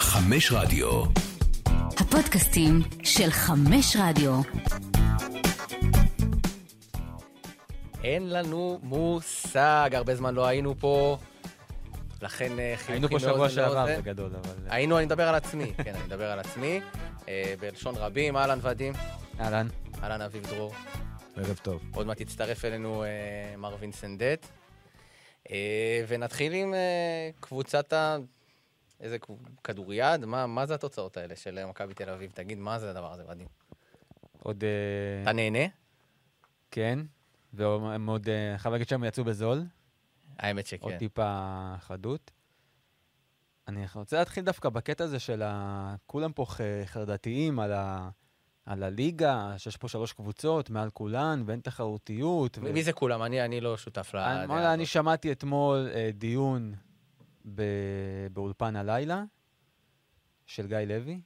חמש רדיו. הפודקאסטים של חמש רדיו. אין לנו מושג, הרבה זמן לא היינו פה, לכן אה, חיוכים היינו פה מאוזן שבוע שעבר, לאוזן. זה גדול, אה, אבל... היינו, אני מדבר על עצמי, כן, אני מדבר על עצמי. אה, בלשון רבים, אהלן ודים, אהלן. אהלן אביב דרור. ערב טוב. עוד מעט יצטרף אלינו אה, מר וינסנדט. אה, ונתחיל עם אה, קבוצת ה... איזה קב- כדוריד? מה, מה זה התוצאות האלה של אה, מכבי תל אביב? תגיד, מה זה הדבר הזה, ודים? עוד... אה, אתה נהנה? כן. והם עוד... אה, חייב להגיד שהם יצאו בזול. האמת שכן. עוד טיפה חדות. אני רוצה להתחיל דווקא בקטע הזה של ה... כולם פה ח- חרדתיים על ה... על הליגה, שיש פה שלוש קבוצות מעל כולן, ואין תחרותיות. ו- מי זה כולם? אני, אני לא שותף אני- לדעה וואלה, אני הזאת. שמעתי אתמול אה, דיון ב- באולפן הלילה של גיא לוי,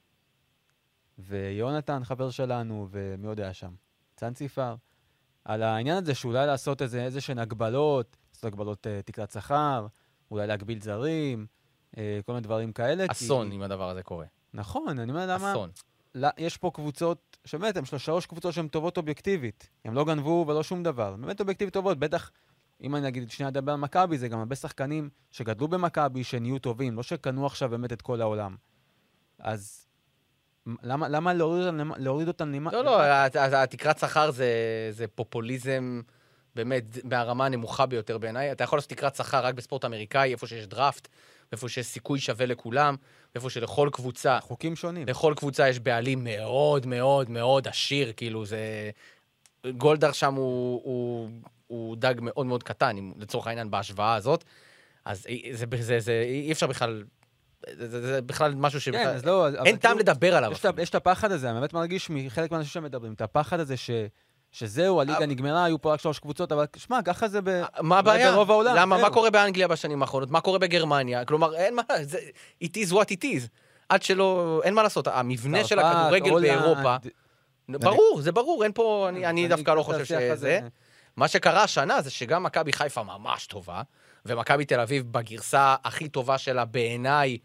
ויונתן, חבר שלנו, ומי עוד היה שם? צאנציפר, על העניין הזה שאולי לעשות איזה, איזה שהן הגבלות, לעשות הגבלות אה, תקרת שכר, אולי להגביל זרים, אה, כל מיני דברים כאלה. כי- אסון אם הדבר הזה קורה. נכון, אני אומר, למה... אסון. לא, יש פה קבוצות, שבאמת, הן של- שלוש קבוצות שהן טובות אובייקטיבית. הן לא גנבו ולא שום דבר. באמת אובייקטיבית טובות, בטח, אם אני אגיד, שנייה אדבר על מכבי, זה גם הרבה שחקנים שגדלו במכבי, שנהיו טובים, לא שקנו עכשיו באמת את כל העולם. אז מ- למה, למה להוריד אותן למ- להוריד אותן למה? לא, לא, הת- הת- התקרת שכר זה- זה פופוליזם באמת מהרמה הנמוכה ביותר בעיניי. אתה יכול לעשות תקרת שכר רק בספורט אמריקאי, איפה שיש דראפט, איפה שיש סיכוי שווה לכולם, איפה שלכל קבוצה, חוקים שונים. לכל קבוצה יש בעלים מאוד מאוד מאוד עשיר, כאילו זה... גולדהר שם הוא, הוא, הוא דג מאוד מאוד קטן, אם, לצורך העניין, בהשוואה הזאת. אז אי- זה, זה, זה, אי אפשר בכלל... זה, זה, זה בכלל משהו ש... כן, אז לא... אז- אבל אין טעם כאילו- לדבר עליו. יש את ה- אפילו. יש את הפחד הזה, אני באמת מרגיש מחלק מהאנשים שמדברים, את הפחד הזה ש... שזהו, הליגה נגמרה, היו פה רק שלוש קבוצות, אבל שמע, ככה זה ב... אה, מה הבעיה? ברוב העולם, למה? מה זהו. קורה באנגליה בשנים האחרונות? מה קורה בגרמניה? כלומר, אין מה, זה, it is what it is. עד שלא, אין מה לעשות, המבנה של צרפת, הכדורגל הולנד, באירופה, ברור, זה ברור, אין פה, אני, אני דווקא לא חושב השיח שזה. הזה- מה שקרה השנה זה שגם מכבי חיפה ממש טובה, ומכבי תל אביב בגרסה הכי טובה שלה בעיניי,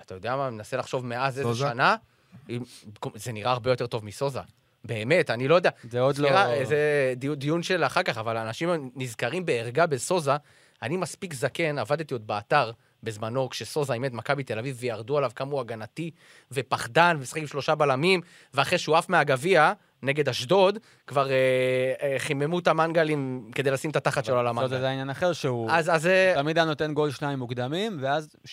אתה יודע מה, אני מנסה לחשוב מאז איזה סוזה? שנה, אם- זה נראה הרבה יותר טוב מסוזה. באמת, אני לא יודע. זה עוד לא... סליחה, זה דיו- דיון של אחר כך, אבל אנשים נזכרים בערגה בסוזה. אני מספיק זקן, עבדתי עוד באתר בזמנו, כשסוזה אימן את מכבי תל אביב, וירדו עליו כמה הוא הגנתי ופחדן, ומשחק עם שלושה בלמים, ואחרי שהוא עף מהגביע, נגד אשדוד, כבר אה, אה, חיממו את המנגלים כדי לשים את התחת שלו על אבל זה המנגל. זה עניין אחר, שהוא אז, אז אה, תמיד היה נותן גול שניים מוקדמים, ואז 70-60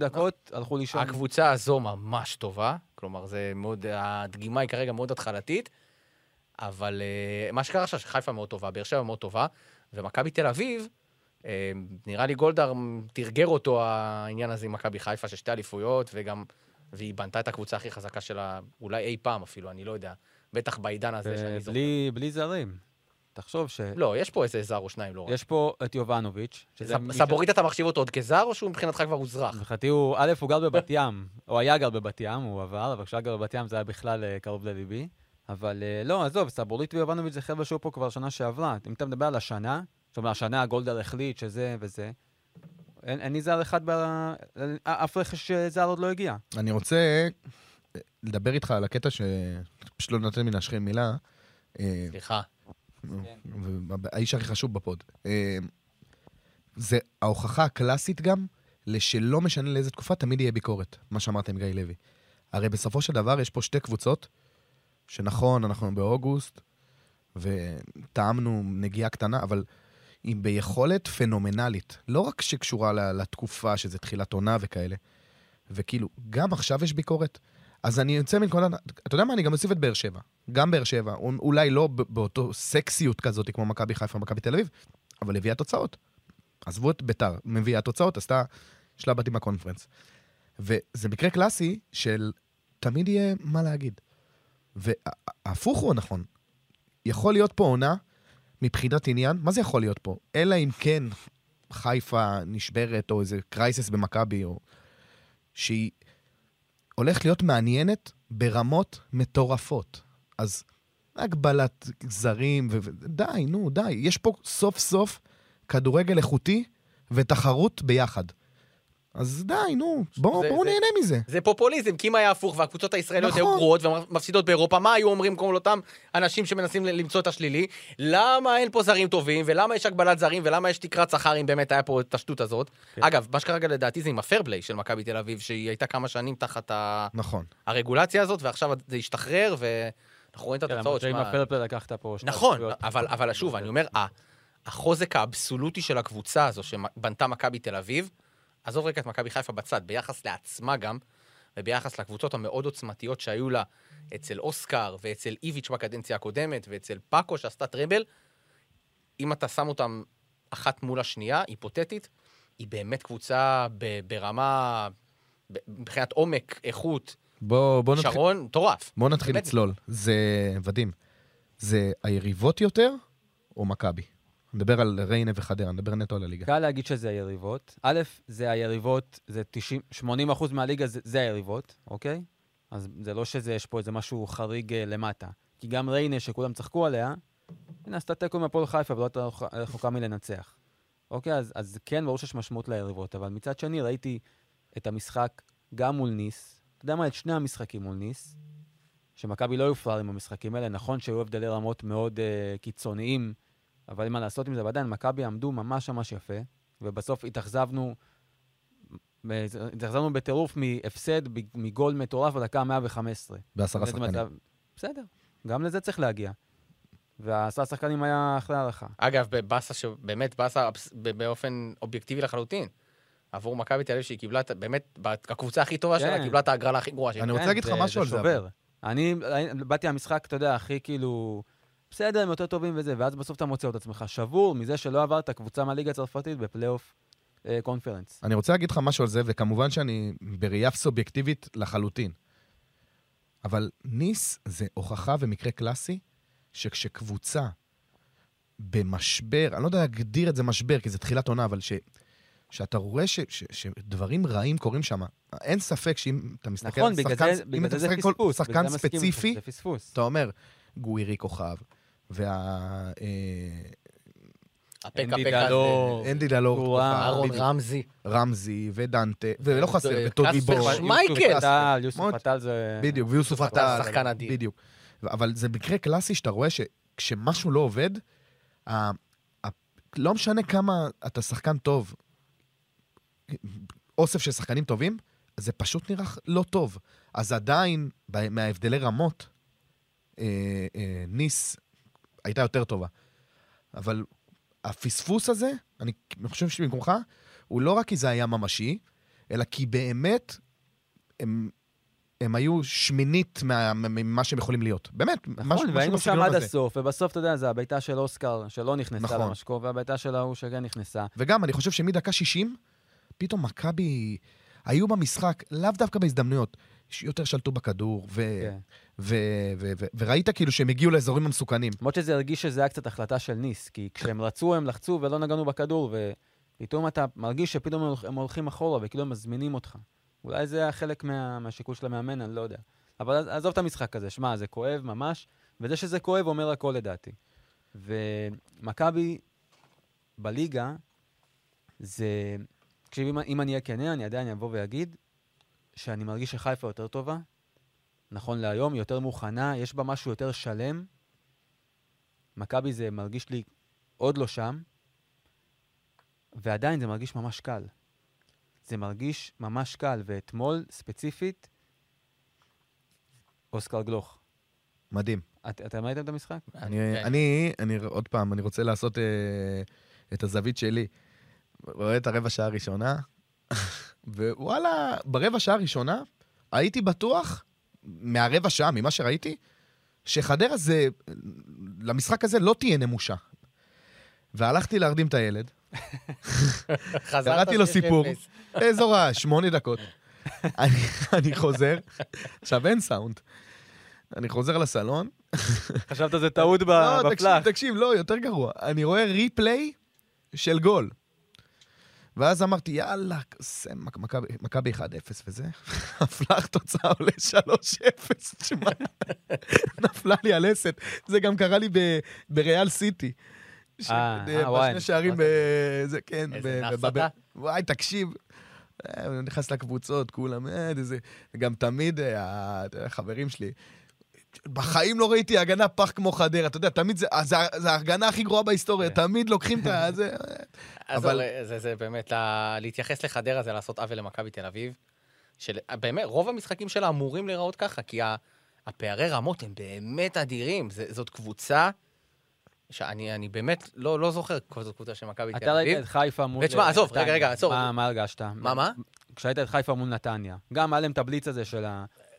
דקות הלכו לישון. נכון. הקבוצה הזו ממש טובה, כלומר, זה מאוד, הדגימה היא כרגע מאוד התחלתית, אבל אה, מה שקרה עכשיו, שחיפה מאוד טובה, באר שבע מאוד טובה, ומכבי תל אביב, אה, נראה לי גולדהר תרגר אותו העניין הזה עם מכבי חיפה, ששתי אליפויות, וגם, והיא בנתה את הקבוצה הכי חזקה שלה, אולי אי פעם אפילו, אני לא יודע, בטח בעידן אה, הזה שאני זוכר. בלי בלי זרים. תחשוב ש... לא, יש פה איזה זר או שניים, לא רק. יש פה את יובנוביץ', שזה... סב- מי ש- סבורית אתה מחשיב אותו עוד כזר, או שהוא מבחינתך כבר הוזרח? מבחינתי הוא, א', הוא גר בבת ים, או היה גר בבת ים, הוא עבר, אבל כשהיה גר בבת ים זה היה בכלל אה, קרוב לליבי. אבל אה, לא, עזוב, סבורית ויובנוביץ' זה חבר'ה שהיו פה כבר שנה שעברה. אם אתה מדבר על השנה, זאת אומרת, השנה גולדהר החליט שזה וזה, אין אין לי זר אחד, ב... אף רכש אה, זר עוד לא הגיע. אני רוצה אה, לדבר איתך על הקטע ש... פשוט לא נותן לי להשחיל מילה. אה, סליחה. ו- האיש הכי חשוב בפוד. אה, זה ההוכחה הקלאסית גם, לשלא משנה לאיזה תקופה, תמיד יהיה ביקורת, מה שאמרת עם גיא לוי. הרי בסופו של דבר יש פה שתי קבוצות, שנכון, אנחנו באוגוסט, וטעמנו נגיעה קטנה, אבל היא ביכולת פנומנלית. לא רק שקשורה ל- לתקופה, שזה תחילת עונה וכאלה, וכאילו, גם עכשיו יש ביקורת. אז אני יוצא מנקודת... אתה יודע מה? אני גם אוסיף את באר שבע. גם באר שבע. אול- אולי לא ב- באותו סקסיות כזאת כמו מכבי חיפה ומכבי תל אביב, אבל הביאה תוצאות. עזבו את ביתר, מביאה תוצאות, עשתה שלב בתים בקונפרנס. וזה מקרה קלאסי של תמיד יהיה מה להגיד. וההפוך הוא הנכון. יכול להיות פה עונה מבחינת עניין, מה זה יכול להיות פה? אלא אם כן חיפה נשברת, או איזה קרייסס במכבי, או... שהיא הולכת להיות מעניינת ברמות מטורפות. אז הגבלת זרים, ו... ו- די, נו, די. יש פה סוף סוף כדורגל איכותי ותחרות ביחד. אז די, נו, בואו זה- בואו זה- נהנה מזה. זה פופוליזם, כי אם היה הפוך והקבוצות הישראליות היו נכון. גרועות ומפסידות באירופה, מה היו אומרים כל אותם אנשים שמנסים ל- למצוא את השלילי? למה אין פה זרים טובים, ולמה יש הגבלת זרים, ולמה יש תקרת שכר אם באמת היה פה את השטות הזאת? אגב, מה שכרגע לדעתי זה עם הפרפליי של מכבי תל אביב, שהיא הייתה כמה שנים תחת ה- נכון. הרגולציה הזאת, ועכשיו זה השתחרר, ואנחנו רואים את כן, למרות התוצאות. שעם שמע, הפלפל לקחת פה שתי נכון, אליפויות. אבל, אבל שוב, לא אני אומר, ה- החוזק האבסולוטי של הקבוצה הזו שבנתה מכבי תל אביב, עזוב רגע את מכבי חיפה בצד, ביחס לעצמה גם, וביחס לקבוצות המאוד עוצמתיות שהיו לה אצל אוסקר ואצל איביץ' בקדנציה הקודמת, ואצל פאקו שעשתה טראבל, אם אתה שם אותם אחת מול השנייה, היפותטית, היא באמת קבוצה ב- ברמה, ב- מבחינת עומק, איכות, בואו בוא נתחיל, שרון, מטורף. בוא נתחיל באמת. לצלול. זה ודים. זה היריבות יותר או מכבי? נדבר על ריינה וחדרה, נדבר נטו על הליגה. קל להגיד שזה היריבות. א', זה היריבות, זה 90, 80 אחוז מהליגה זה, זה היריבות, אוקיי? אז זה לא שזה, יש פה איזה משהו חריג אה, למטה. כי גם ריינה, שכולם צחקו עליה, הנה, עשתה תיקו עם הפועל חיפה, ולא הייתה רחוק- רחוקה מלנצח. אוקיי, אז, אז כן, ברור שיש משמעות ליריבות, אבל מצד שני, ראיתי את המשחק גם מול ניס, אתה יודע מה, את שני המשחקים מול ניס, שמכבי לא היו פראיירים במשחקים האלה, נכון שהיו הבדלי רמות מאוד uh, קיצוניים, אבל אין מה לעשות עם זה, ועדיין, מכבי עמדו ממש ממש יפה, ובסוף התאכזבנו, התאכזבנו בטירוף מהפסד, ב- מגול מטורף בדקה ה-115. בעשרה זה שחקנים. מצב- בסדר, גם לזה צריך להגיע. והעשרה שחקנים היה אחלה הערכה. אגב, בבאסה, שבאמת באסה אבס- ב- באופן אובייקטיבי לחלוטין. עבור מכבי תל אביב, שהיא קיבלה, את- באמת, בת- הקבוצה הכי טובה שלה כן. קיבלה את ההגרלה הכי גרועה שלה. אני רוצה להגיד לך זה- משהו על זה, זה שובר. אני אני באתי למשחק, אתה יודע, הכי כאילו... בסדר, הם יותר טובים וזה, ואז בסוף אתה מוצא את עצמך שבור מזה שלא עברת קבוצה מהליגה הצרפתית בפלייאוף אה, קונפרנס. אני רוצה להגיד לך משהו על זה, וכמובן שאני בראייה סובייקטיבית לחלוטין. אבל ניס זה הוכחה ומקרה קלאסי שכשקבוצה במשבר, אני לא יודע להגדיר את זה משבר, כי זה תחילת עונה, אבל ש, שאתה רואה ש, ש, שדברים רעים קורים שם, אין ספק שאם אתה מסתכל נכון, על שחקן, בגלל זה אם בגלל אתה זה זה מסתכל על כל פספוס. בגלל שחקן זה מסכים איתך, ספציפי, זה פספוס. אתה אומר, גווירי כוכב, וה... אה, הפק אין הפק דידלו. הזה. אנדי דלור, טורם, אהרון אה, בדיוק. רמזי. רמזי ודנטה, ולא חסר, אה, וטודי קלאספר בור. ש- מייקל! יוסוף פתאל, יוסוף מאוד- פתאל זה... בדיוק, ויוסוף עטר, עטר. שחקן אדיר. בדיוק. ו- אבל זה מקרה קלאסי שאתה רואה שכשמשהו לא עובד, ה- ה- לא משנה כמה אתה שחקן טוב, אוסף של שחקנים טובים, זה פשוט נראה לא טוב. אז עדיין, ב- מההבדלי רמות, אה, אה, ניס הייתה יותר טובה. אבל הפספוס הזה, אני חושב שבמקומך, הוא לא רק כי זה היה ממשי, אלא כי באמת הם, הם היו שמינית מה- ממה שהם יכולים להיות. באמת, משהו, נכון, משהו והיינו שם בסגנון עד הזה. הסוף, ובסוף, אתה יודע, זה הבעיטה של אוסקר, שלא נכנסה נכון. למשקוף, והבעיטה של ההוא שכן נכנסה. וגם, אני חושב שמדקה 60, פתאום מכבי היו במשחק, לאו דווקא בהזדמנויות, ש- יותר שלטו בכדור, ו... כן. ו- ו- ו- וראית כאילו שהם הגיעו לאזורים המסוכנים. למרות שזה הרגיש שזה היה קצת החלטה של ניס, כי כשהם רצו, הם לחצו ולא נגענו בכדור, ופתאום אתה מרגיש שפתאום הם הולכ- הם הולכים אחורה וכאילו הם מזמינים אותך. אולי זה היה חלק מה, מהשיקול של המאמן, אני לא יודע. אבל עז- עזוב את המשחק הזה, שמע, זה כואב ממש, וזה שזה כואב אומר הכל לדעתי. ומכבי בליגה, זה... תקשיב, אם, אם אני אהיה כנה, אני עדיין אבוא ואגיד שאני מרגיש שחיפה יותר טובה, נכון להיום, היא יותר מוכנה, יש בה משהו יותר שלם. מכבי זה מרגיש לי עוד לא שם, ועדיין זה מרגיש ממש קל. זה מרגיש ממש קל, ואתמול ספציפית, אוסקר גלוך. מדהים. את- אתם ראיתם את המשחק? אני, כן. אני, אני, עוד פעם, אני רוצה לעשות אה, את הזווית שלי. רואה את הרבע שעה הראשונה, ווואלה, ברבע שעה הראשונה הייתי בטוח, מהרבע שעה, ממה שראיתי, שחדרה זה, למשחק הזה לא תהיה נמושה. והלכתי להרדים את הילד, חזרת קראתי לו 6-0. סיפור, באזור השמונה דקות. אני, אני חוזר, עכשיו אין סאונד. אני חוזר לסלון, חשבת זה טעות לא, תקשיב, תקשיב, לא, יותר גרוע. אני רואה ריפליי של גול. ואז אמרתי, יאללה, זה מכ- מכבי- מכבי 1-0 וזה. הפלח תוצאה עולה 3-0, תשמע. נפלה לי הלסת. זה גם קרה לי ב- בריאל סיטי. ש- אה, אה, בשני וואי. שערים, מה ב- זה כן. איזה ב- נאחס בב- אתה. וואי, תקשיב. אה, הוא נכנס לקבוצות, כולם, אה, זה... גם תמיד אה, החברים שלי... בחיים לא ראיתי הגנה פח כמו חדרה, אתה יודע, תמיד זה, זה, זה ההגנה הכי גרועה בהיסטוריה, כן. תמיד לוקחים את ה... זה... אה, אבל אבל- זה, זה באמת, לה- להתייחס לחדרה זה לעשות עוול למכבי תל אביב. של, באמת, רוב המשחקים שלה אמורים להיראות ככה, כי ה- הפערי רמות הם באמת אדירים. זה, זאת קבוצה שאני אני באמת לא, לא זוכר כזאת קבוצה של מכבי תל אתה ראית אביב. את חיפה מול... אה, ותשמע, עזוב, נתניה. רגע, רגע, עצור. מה, מה הרגשת? מה, מה? כשהיית את חיפה מול נתניה. גם היה להם את הבליץ הזה של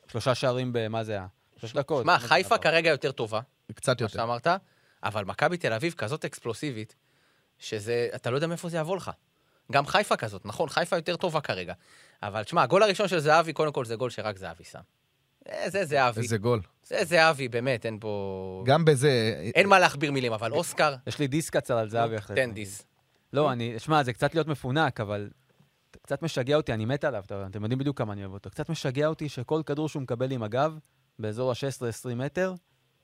השלושה שערים ב... מה זה היה? שלוש דקות. מה, חיפה כרגע יותר טובה, קצת מה יותר. שאתה אמרת, אבל מכבי תל אביב כזאת אקספלוסיבית, שזה, אתה לא יודע מאיפה זה יבוא לך. גם חיפה כזאת, נכון, חיפה יותר טובה כרגע. אבל תשמע, הגול הראשון של זהבי, קודם כל זה גול שרק זהבי שם. אה, זה זהבי. איזה גול. זה זהבי, באמת, אין פה... גם בזה... אה, אין מה להכביר מילים, אבל אוסקר, כן, יש לי דיס קצר על זהבי אחרי זה. תן דיז. לא, אני... שמע, זה קצת להיות מפונק, אבל... קצת משגע אותי, אני מת עליו, אתה- אתם יודעים בדיוק כמה אני אוהב אותו. קצת משגע אותי שכל כדור שהוא מקבל עם הגב, באזור ה-16-20 מטר,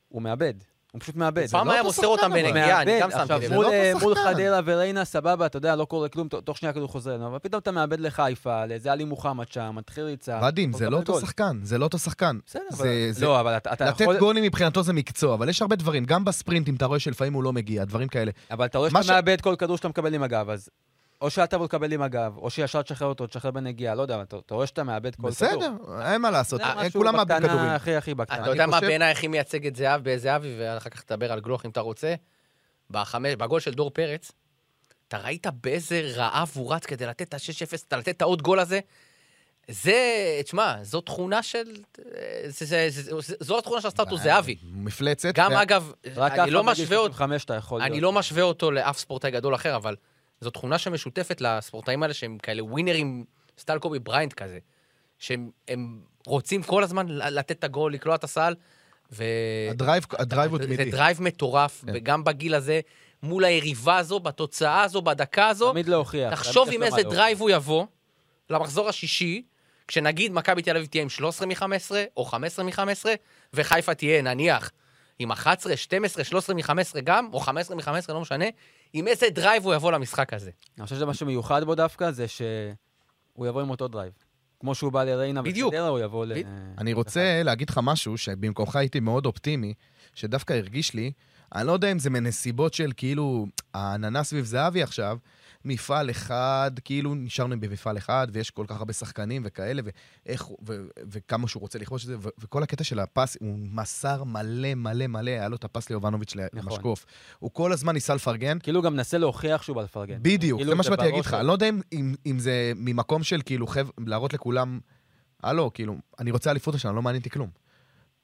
הוא מאבד. הוא פשוט מאבד. פעם לא היה אותו מוסר שחקן, אותם אבל. בנגיעה, אני מאבד. גם עכשיו, שמתי לב. מול, זה לא אה, אותו מול שחקן. חדרה וריינה, סבבה, אתה יודע, לא קורה כלום, ת- תוך שנייה הכדור חוזר לנו, אבל פתאום אתה מאבד לחיפה, לאיזה עלי מוחמד שם, מתחיל ריצה. ודים, הוא זה לא מקבל אותו גול. שחקן, זה לא אותו שחקן. בסדר, זה- אבל... זה- לא, אבל אתה אתה לתת יכול... גולים מבחינתו זה מקצוע, אבל יש הרבה דברים, גם בספרינטים אתה רואה שלפעמים הוא לא מגיע, דברים כאלה. אבל אתה רואה מה שאתה ש- מאבד כל כדור שאתה מקבל עם הגב, אז... או שאל תבוא לקבל עם הגב, או שישר תשחרר אותו, תשחרר בנגיעה, לא יודע, אבל אתה אתה רואה שאתה מאבד כל כדור. בסדר, אין מה לעשות, אה, זה משהו כולם מאבדים בקטנה, כדורים. הכי הכי אתה בקטנה. יודע מה חושב- בעיניי הכי מייצג את זהב בזהבי, ואחר כך תדבר על גלוך אם אתה רוצה. בחמש- בגול של דור פרץ, אתה ראית באיזה רעב הוא רץ כדי לתת את ה-6-0, אתה לתת את העוד גול הזה? זה, תשמע, זו תכונה של... זה- זה- זה- זה- זו התכונה של הסטטוס זהבי. אה, מפלצת. אה, גם, ו- אגב, רק אני לא משווה אותו... חמש אתה יכול אני להיות. לא משווה אותו לאף ספורטאי גדול אחר, אבל זו תכונה שמשותפת לספורטאים האלה שהם כאלה ווינרים, סטייל קובי בריינד כזה, שהם הם רוצים כל הזמן ל- לתת את הגול, לקלוע את הסל, ו... הדרייב הדרייב הוא זה תמידי. דרייב מטורף, כן. וגם בגיל הזה, מול היריבה הזו, בתוצאה הזו, בדקה הזו, תמיד להוכיח. תחשוב תמיד עם יש לו איזה מה להוכיח. דרייב הוא יבוא למחזור השישי, כשנגיד מכבי תל אביב תהיה עם 13 מ-15 או 15 מ-15, וחיפה תהיה, נניח, עם 11, 12, 13 מ-15 גם, או 15 מ-15, לא משנה, עם איזה דרייב הוא יבוא למשחק הזה. אני חושב שזה משהו מיוחד בו דווקא, זה שהוא יבוא עם אותו דרייב. כמו שהוא בא לריינה בדיוק. וחדרה, הוא יבוא ל... בדיוק. אני אה. רוצה להגיד לך משהו שבמקומך הייתי מאוד אופטימי, שדווקא הרגיש לי, אני לא יודע אם זה מנסיבות של כאילו העננה סביב זהבי עכשיו, מפעל אחד, כאילו נשארנו במפעל אחד, ויש כל כך הרבה שחקנים וכאלה, ואיך, הוא- ו, ו, וכמה שהוא רוצה לכבוש את זה, ו, וכל הקטע של הפס, הוא מסר מלא מלא מלא, היה לו את הפס ליובנוביץ' נכון. למשקוף. הוא כל הזמן ניסה לפרגן, כאילו גם מנסה להוכיח שהוא בא לפרגן. בדיוק, כאילו זה מה זה שבאתי בראש להגיד לך. שלו. אני לא יודע אם- אם- אם זה ממקום של כאילו, חב- להראות לכולם, הלו, כאילו, אני רוצה אליפות השנה, לא מעניין אותי כלום.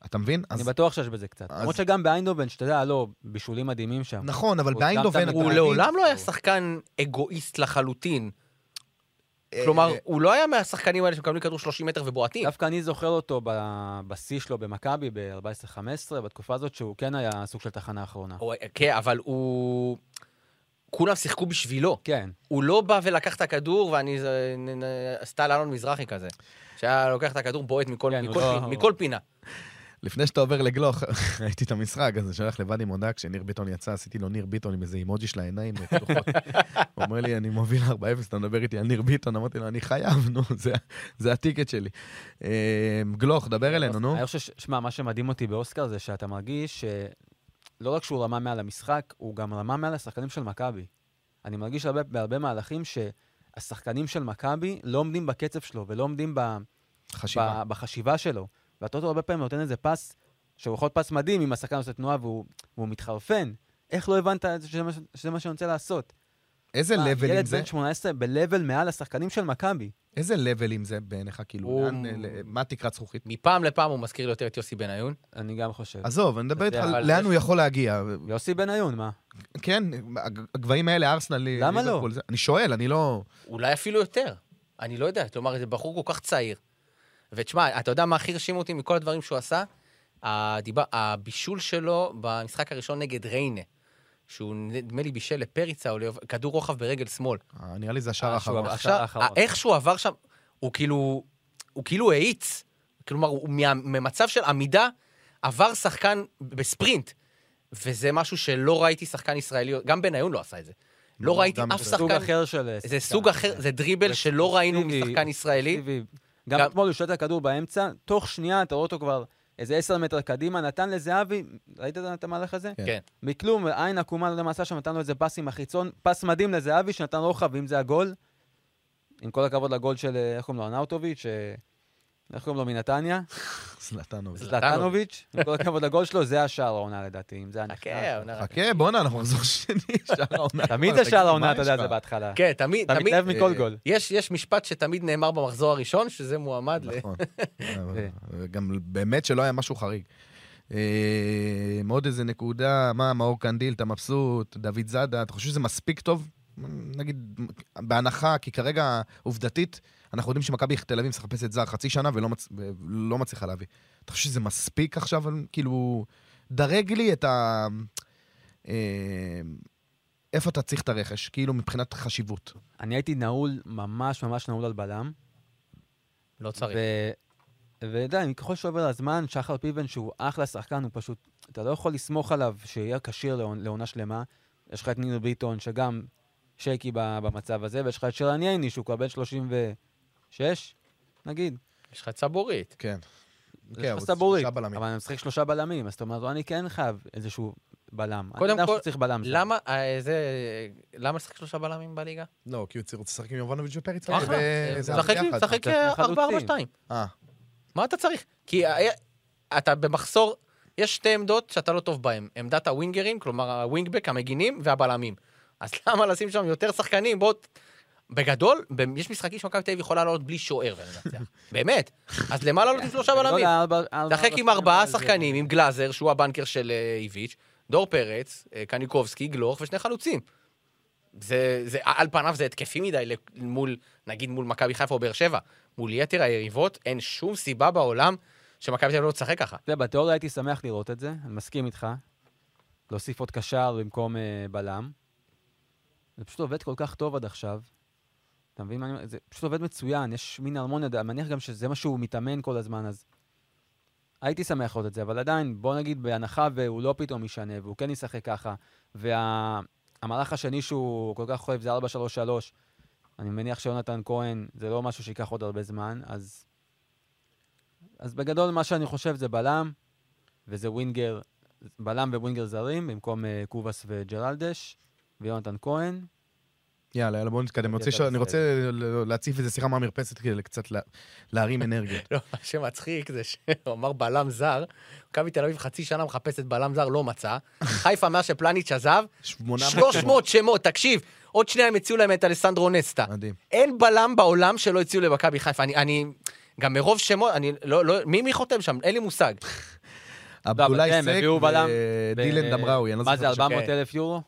אתה מבין? אני אז בטוח שיש בזה קצת. אז- למרות שגם באיינדובן, שאתה יודע, לא, בישולים מדהימים שם. נכון, אבל הוא גם באיינדובן... תמיד- אתה הוא מבין? לעולם לא היה שחקן אגואיסט לחלוטין. אה, כלומר, הוא לא היה מהשחקנים האלה שמקבלים כדור 30 מטר ובועטים. דווקא אני זוכר אותו ב- בשיא שלו במכבי ב-14-15, בתקופה הזאת שהוא כן היה סוג של תחנה אחרונה. אוקיי. הוא- כן, אבל הוא... כולם שיחקו בשבילו. כן. הוא לא בא ולקח את הכדור, ואני... זה- נ- נ- סטייל אלון מזרחי כזה. שהיה לוקח את הכדור, בועט מכל, כן, הוא מכל, לא- פי- מכל פינה. לפני שאתה עובר לגלוך, ראיתי את המשחק, אז אני שולח לבד עם הודעה, כשניר ביטון יצא, עשיתי לו ניר ביטון עם איזה אימוג'י של העיניים. פתוחות. הוא אומר לי, אני מוביל 4-0, אתה מדבר איתי על ניר ביטון, אמרתי לו, אני חייב, נו, זה- זה הטיקט שלי. אה, גלוך, דבר אלינו, נו. אני חושב, ש- שמע, מה שמדהים אותי באוסקר זה שאתה מרגיש שלא רק שהוא רמה מעל המשחק, הוא גם רמה מעל השחקנים של מכבי. אני מרגיש הרבה, בהרבה מהלכים שהשחקנים של מכבי לא עומדים בקצב שלו ולא עומדים ב, חשיבה. ב, בחשיבה שלו. והטוטו הרבה פעמים נותן איזה פס, שהוא יכול להיות פס מדהים אם השחקן עושה תנועה והוא, והוא מתחרפן. איך לא הבנת את זה שזה מה ש- שזה מה שאני רוצה לעשות? איזה מה, לבלים ילד זה? בן 18 ב-level מעל השחקנים של מכבי. איזה לבלים זה בעיניך, כאילו, הוא- לאן, ל- מה תקרת זכוכית? מפעם לפעם הוא מזכיר לי יותר את יוסי בניון. אני גם חושב. עזוב, אני מדבר אתה איתך יודע, על אבל לאן יש- הוא יכול להגיע. יוסי בניון, מה? כן, הג- הגבהים האלה, ארסנל, אה, למה לא? ליברפול, זה- אני שואל, אני לא... אולי אפילו יותר. אני לא יודע, כלומר, זה בחור כל כך צעיר. ותשמע, אתה יודע מה הכי הרשים אותי מכל הדברים שהוא עשה? הדיבה, הבישול שלו במשחק הראשון נגד ריינה, שהוא נדמה לי בישל לפריצה, או ליוב- כדור רוחב ברגל שמאל. אה, נראה לי זה השער אה, האחרון. שהוא- עכשיו, האחרון. איך שהוא עבר שם, הוא כאילו, הוא כאילו האיץ. כלומר, הוא מה- ממצב של עמידה עבר שחקן בספרינט. וזה משהו שלא ראיתי שחקן ישראלי, גם בניון לא עשה את זה. לא ראיתי גם אף זה. שחקן... סוג אחר של... זה שחקן. סוג אחר, זה דריבל זה שלא ראינו אקסקלוסיבי, משחקן ישראלי. אקסקלוסיבי. גם גם- אתמול הוא שואט את הכדור באמצע, תוך שנייה אתה רואה אותו כבר איזה עשר מטר קדימה, נתן לזהבי, ראית את המהלך הזה? כן. כן. מכלום, עין עקומה, לא יודע מה עשה שם, נתן לו איזה פס עם החיצון, פס מדהים לזהבי, שנתן רוחב, ואם זה הגול, עם כל הכבוד לגול של, אה, איך קוראים לו, אנאוטוביץ', אה, איך קוראים לו, מנתניה? זלטנוביץ'. זלטנוביץ', עם כל הכבוד לגול שלו, זה השער העונה לדעתי, אם זה היה נכנס. חכה, העונה- חכה, בואנה, אנחנו נחזור שני, שער העונה. תמיד תגיד, זה שער מה העונה, יש אתה יודע, לך? זה בהתחלה. כן, תמיד, אתה תמיד... מתלהב מכל אה, גול. יש, יש משפט שתמיד נאמר במחזור הראשון, שזה מועמד ל... נכון. אה, כן. אבל גם באמת שלא היה משהו חריג. אה, עוד איזה נקודה, מה, מאור קנדיל, אתה מבסוט, דוד זאדה, אתה חושב שזה מספיק טוב? נגיד, בהנחה, כי כרגע, עובדתית, אנחנו יודעים שמכבי תל אביב מחפשת זר חצי שנה ולא מצ- ולא מצליחה להביא. אתה חושב שזה מספיק עכשיו? כאילו, דרג לי את ה... אה, איפה אתה צריך את הרכש, כאילו, מבחינת חשיבות. אני הייתי נעול, ממש ממש נעול על בלם. לא צריך. ו- ועדיין, ככל שעובר הזמן, שחר פיבן, שהוא אחלה שחקן, הוא פשוט, אתה לא יכול לסמוך עליו שיהיה כשיר לעונ- לעונה שלמה. יש לך את נינו ביטון, שגם שייקי ב- במצב הזה, ויש לך את שרן ייני, שהוא כבר בן 36, נגיד. יש לך צבורית. כן. יש לך הוא סבורית, שלושה בלמים. אבל אני משחק שלושה בלמים, אז אתה אומר, "לא, אני כן חייב איזשהו בלם. קודם אני יודע כל, שצריך בלם. שם. למה, אה, זה... למה לשחק שלושה בלמים בליגה? לא, כי הוא ציר- רוצה לשחק עם יובנוביץ' ופריצה. אחלה. ו- אה, זה שחק ביחד. שחק אתה צריך חלוצים. 4-4-2. אה, מה אתה צריך? כי ה- אתה במחסור, יש שתי עמדות שאתה לא טוב בהן. עמדת הווינגרים, כלומר הווינגבק, המגינים והבלמים. אז למה לשים שם יותר שחקנים? בוא... ת- בגדול, ב- יש משחקים שמכבי תל אביב יכולה לעלות בלי שוער ולנצח. באמת. אז למה לעלות עם שלושה לא, בלמים? לארבע- ארבע- לשחק עם ארבע- ארבעה זה- שחקנים, עם גלאזר, שהוא הבנקר של אה, איביץ', דור פרץ, אה, קניקובסקי, גלוך ושני חלוצים. זה, זה, על פניו זה התקפי מדי ל- מול, נגיד מול מכבי חיפה או באר שבע. מול יתר היריבות, אין שום סיבה בעולם שמכבי תל אביב לא תשחק ככה. אתה יודע, בתיאוריה הייתי שמח לראות את זה, אני מסכים איתך. להוסיף עוד קשר במקום אה, בלם. זה פשוט עובד כל כך טוב עד עכשיו. אתה מבין מה אני אומר? זה פשוט עובד מצוין, יש מין הרמוניה, אני מניח גם שזה מה שהוא מתאמן כל הזמן, אז... הייתי שמח לראות את זה, אבל עדיין, בוא נגיד, בהנחה והוא לא פתאום ישנה, והוא כן ישחק ככה, והמהלך השני שהוא כל כך אוהב זה 433, אני מניח שיונתן כהן, זה לא משהו שייקח עוד הרבה זמן, אז... אז בגדול, מה שאני חושב זה בלם, וזה ווינגר, בלם וווינגר זרים, במקום אה, קובאס וג'רלדש, ויונתן כהן. יאללה, יאללה, בואו נתקדם. אני רוצה אתה ש- אני בסדר. רוצה ל- להציף איזה שיחה מהמרפסת כדי קצת לה- להרים אנרגיות. לא, מה שמצחיק זה שהוא אמר בלם זר, מכבי תל אביב חצי שנה מחפשת בלם זר, לא מצא. חיפה, מאז שפלניץ' עזב, שמונה... 300 שמות, תקשיב, עוד שנייה הם הציעו להם את אלסנדרו נסטה. מדהים. אין בלם בעולם שלא הציעו למכבי חיפה. אני, אני, גם מרוב שמות, אני לא, לא, מי, מי חותם שם? אין לי מושג. עבדולאי כן, סק הביאו בלם ודילן ב- דמראוי, אני לא מה זה, זוכר. עכשיו. 400 אלף יורו?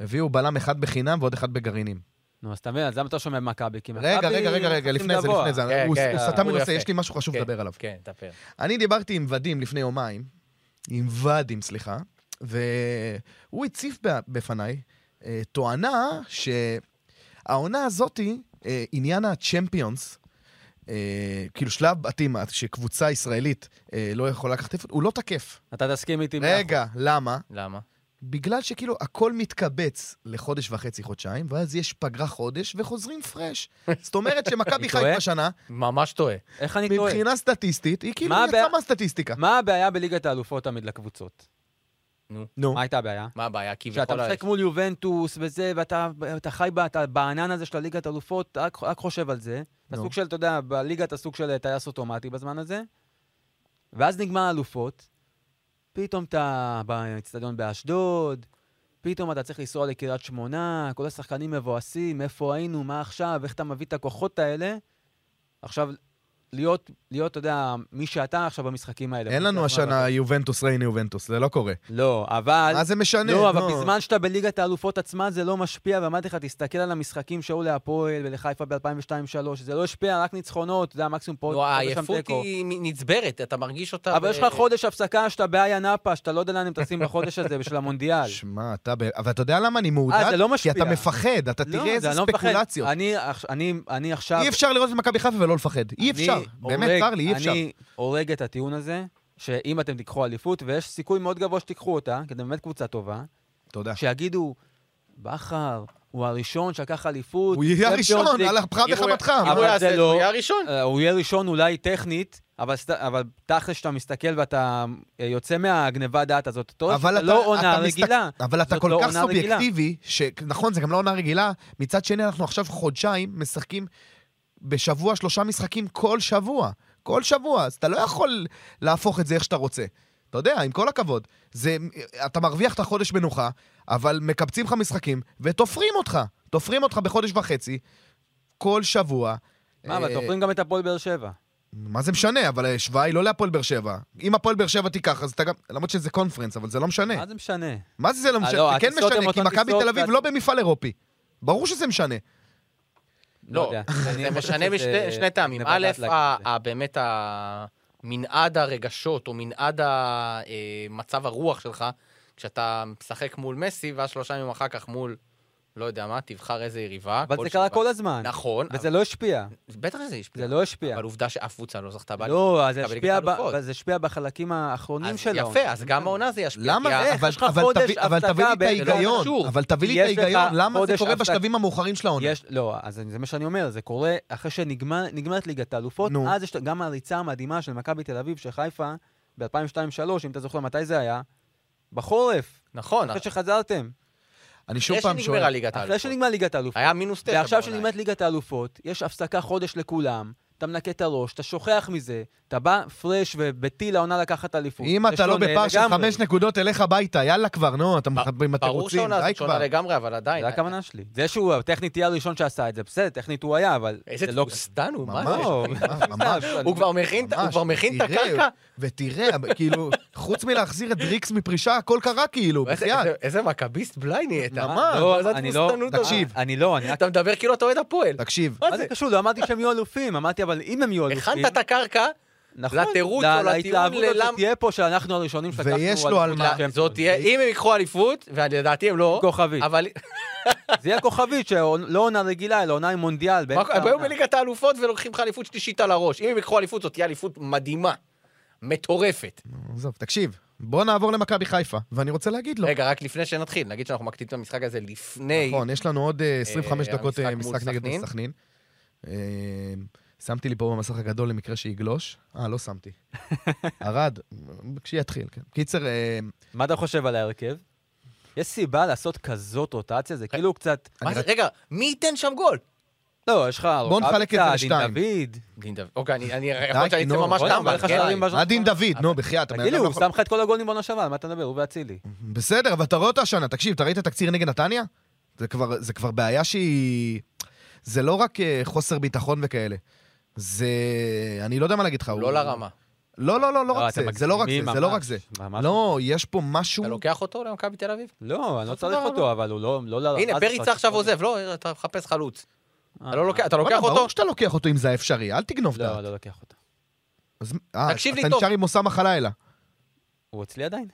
הביאו בלם אחד בחינם ועוד אחד בגרעינים. נו, אז אתה מבין, אז למה אתה לא שומע מכבי? כי רגע, רגע, רגע, רגע, חוטפים לפני זה, גבוה. לפני זה. כן, הוא כן, הוא סטה הסיפור מנושא, יפה. יש לי משהו חשוב כן, לדבר עליו. כן, תפר. אני דיברתי עם ודים לפני יומיים, עם ודים, סליחה, והוא הציף ב- בפניי אה, תואנה שהעונה הזאתי, אה, עניין הצ'מפיונס, אה, כאילו שלב בתים, שקבוצה ישראלית אה, לא יכולה לקחת אליפות, הוא לא תקף. אתה תסכים איתי. מאה אחוז. רגע, למה? למה? בגלל שכאילו הכל מתקבץ לחודש וחצי, חודשיים, ואז יש פגרה חודש וחוזרים פרש. זאת אומרת שמכבי אני טועה? חיפה שנה, ממש טועה. איך אני טועה? מבחינה סטטיסטית, היא כאילו מה יצאה הבעיה? מהסטטיסטיקה. מה הבעיה בליגת האלופות תמיד לקבוצות? נו. מה הייתה הבעיה? מה הבעיה? כי שאתה משחק מול יובנטוס וזה, ואתה אתה חי בה- אתה בענן הזה של הליגת אלופות, רק, רק חושב על זה. אתה נו. סוג של, אתה יודע, בליגה אתה סוג של אה, טייס אוטומטי בזמן הזה, ואז נגמר האלופות, פתאום אתה באצטדיון באשדוד, פתאום אתה צריך לנסוע לקריית שמונה, כל השחקנים מבואסים, איפה היינו, מה עכשיו, איך אתה מביא את הכוחות האלה. עכשיו, להיות, להיות, אתה יודע, מי שאתה עכשיו במשחקים האלה. אין לנו השנה יובנטוס ריינה יובנטוס, זה לא קורה. לא, אבל... מה זה משנה? לא, אבל נו. בזמן שאתה בליגת האלופות עצמה, זה לא משפיע, ואמרתי לך, תסתכל על המשחקים שהיו להפועל ולחיפה ב-2002-2003, זה לא השפיע, רק ניצחונות, זה המקסימום פה, נו, פה ושם העייפות תיקו. היא מ- נצברת, אתה מרגיש אותה... אבל ב- יש לך חודש הפסקה שאתה באיה נאפה, שאתה לא יודע לאן הם טסים בחודש הזה בשביל המונדיאל. שמע, אתה... ב- אבל אתה יודע למה אני מעודד? אה, זה לא משפיע. כי אתה מפחד, אתה לא, תראה איזה זה אני לא מפחד. ספקולציות. אני עכש- אני- אני עכשיו... אי אפשר לראות את מכבי חיפה ולא לפחד. אני אי אפשר. באמת, הורג- צר לי, אי אפשר. אני הורג את הטיעון הזה, שאם אתם תיקחו אליפות, ויש אה. סיכוי מאוד גבוה שתיקחו אותה, כי אתם באמת קבוצה טובה, תודה. שיגידו, בכר, הוא הראשון שלקח אליפות. הוא יהיה הראשון, צ'מפיונס על ליג. אפך אם הוא- וחמתך. אם הוא אבל יעשה זה את זה, הוא לא- יהיה הראשון. אה, הוא יהיה ראשון אולי טכנית, אבל סת- אבל תכל'ס שאתה מסתכל ואתה אה, יוצא מהגניבת דעת הזאת, טוב, אבל אתה- לא אתה אה, עונה מסתכל- רגילה. אבל אתה זאת כל לא כך עונה רגילה. סובייקטיבי, שנכון, זה גם לא עונה רגילה. מצד שני, אנחנו עכשיו חודשיים משחקים בשבוע שלושה משחקים כל שבוע. כל שבוע. אז אתה לא יכול להפוך את זה איך שאתה רוצה. אתה יודע, עם כל הכבוד. זה, אתה מרוויח את החודש מנוחה, אבל מקבצים לך משחקים ותופרים אותך. תופרים אותך בחודש וחצי, כל שבוע. מה, אבל אה, תופרים גם את הפועל באר שבע. מה זה משנה? אבל ההשוואה היא לא להפועל באר שבע. אם הפועל באר שבע תיקח, אז אתה גם... למרות שזה קונפרנס, אבל זה לא משנה. מה זה משנה? מה זה זה לא אה, משנה? לא, זה כן הטיסות הן משנה, כי אותן מכבי טיסות תל אביב ואת- לא במפעל אירופי. ברור שזה משנה. לא, יודע. אני זה חושב משנה שזה בשני שני טעמים. גניבת א', דעת להגיד ה- את זה. ה- באמת ה- מנעד הרגשות, או מנעד ה- אה, מצב הרוח שלך, כשאתה משחק מול מסי, ואז שלושה ימים אחר כך מול, לא יודע מה, תבחר איזה יריבה. אבל זה קרה שבוע. כל הזמן. נכון, וזה לא השפיע. אבל- בטח שזה השפיע. זה לא השפיע. אבל עובדה שאף קבוצה לא זכתה באליפות. לא, אז זה מכבי השפיע ליגת ב- האלופות. אבל זה השפיע בחלקים האחרונים אז של העונה. יפה, אז גם העונה זה ישפיע. למה? כי ה- איך? אבל- יש לך אבל חודש תביא- אבל תביא לי את הפסקה בין- זה לא ההיגיון. קשור. אבל תביא לי יש את לך ההיגיון. למה זה חודש קורה הפסק- בשלבים המאוחרים של העונה? יש, לא, אז זה מה שאני אומר, זה קורה אחרי שנגמרת ליגת האלופות, נו. אז יש גם הריצה המדהימה של מכבי תל אביב, של חיפה, ב-2002-2003, אם אתה זוכר מתי זה היה, בחורף, נכון, אחרי שחזרתם, אני שוב אחרי פעם שנגמרה שואל. ליגת אחרי האלופות. שנגמר ליגת האלופות. היה מינוס תשע. ועכשיו בעונה. שנגמרת ליגת האלופות, יש הפסקה חודש לכולם, אתה מנקה את הראש, אתה שוכח מזה, אתה בא פרש ובטיל העונה לקחת אליפות. אם אתה לא שונה בפער של לגמרי. חמש נקודות, תלך הביתה. יאללה כבר, נו, אתה ב- מחבר עם ברור התירוצים. שהעונה די הזאת שונה כבר. לגמרי, אבל עדיין. זה הכוונה שלי. זה שהוא טכנית תהיה הראשון שעשה את זה, בסדר, טכנית הוא היה, אבל איזה זה לא... תבוסתן הוא, מה זה? ממש, לא, ממש. הוא כבר מכין את- הוא לא- ממש. כבר מכין את תראה, הקרקע? ותראה, אבל כאילו, חוץ מלהחזיר את דריקס מפרישה, הכל קרה כאילו, איזה- בחייאת. איזה- איזה מכביסט בליי נהיית. ממש. מה? לא, מה זה אני לא- התבוסתנות הזאת? תקשיב. אני לא, אני רק... אתה מדבר כאילו אתה אוהד הפועל. תקשיב, מה זה קשור? לא אמרתי שהם יהיו אלופים, אמרתי אבל אם הם יהיו אלופים... הכנת את הקרקע, נכון, לתירוץ ל- או לטיעון להתלהבות הזאת ללמה- שתהיה פה שאנחנו הראשונים שלקחנו... ויש לו על אליפות מה. כן. לשם. זאת תהיה, אם הם ייקחו אליפות, ולדעתי הם לא, כוכבית. אבל זה יהיה כוכבית, שלא עונה רגילה, אלא עונה עם מונדיאל. מה- באמצע הם היו העונה. בליגת האלופות ולוקחים לך אליפות שלישית על הראש. אם הם ייקחו אליפות, זאת תהיה אליפות מדהימה. מטורפת. עזוב, תקשיב, בוא נעבור למכבי חיפה, ואני רוצה להגיד לו. רגע, רק לפני שנתחיל, נגיד שאנחנו מקטינים את המשחק הזה לפני... נכון, יש לנו עוד אה, 25 אה, דקות המשחק אה, מול משחק נגד סכנין. מול סכנין. אה, שמתי לי פה במסך הגדול למקרה שיגלוש. אה, לא שמתי. ערד, כשיתחיל, כן. קיצר, אה, מה אתה חושב על ההרכב? יש סיבה לעשות כזאת רוטציה? זה כאילו קצת... מה אני זה? רק- רגע, מי ייתן שם גול? לא, יש לך... בוא נחלק את זה רוקאביצה, לשתיים. דין דוד. דין דוד. אוקיי, אני, אני, יכול להיות שאני נו, אצא ממש בוא'נה, טמבל. אבל לך כן? שערים ב- עדין דוד, נו, בחייאת. הבן תגיד לי, אדם לא הוא יכול- שם לך את כל הגולים בעונה שעברה, על מה אתה מדבר? הוא ואצילי. בסדר, אבל אתה רואה אותו השנה. תקשיב, אתה ראית תקציר נגד נתניה? זה כבר- זה כבר בעיה שהיא... זה לא רק אה, חוסר ביטחון וכאלה. זה... אני לא יודע מה להגיד לך. לא הוא- לרמה. לא, לא, לא, לא רק אתם זה. זה לא רק זה, מגזימים זה לא ממש, רק זה. ממש. לא, יש פה משהו... אתה לוקח אותו למכבי תל אביב? לא, אני לא בסופו צריך של אותו, אבל הוא לא... לא לרמה הנה, הזאת. פריצה עכשיו עוזב, לא, אתה מחפש חלוץ. אה, אתה לא לוקח- אתה לוקח בוא'נה, אותו? ברור שאתה לוקח אותו אם זה האפשרי, אל תגנוב את לא, ה... לא לוקח אותו. אז- אה, תקשיב לי אתה טוב. נשאר עם אוסאמה חלילה. כן? הוא אצלי עדיין.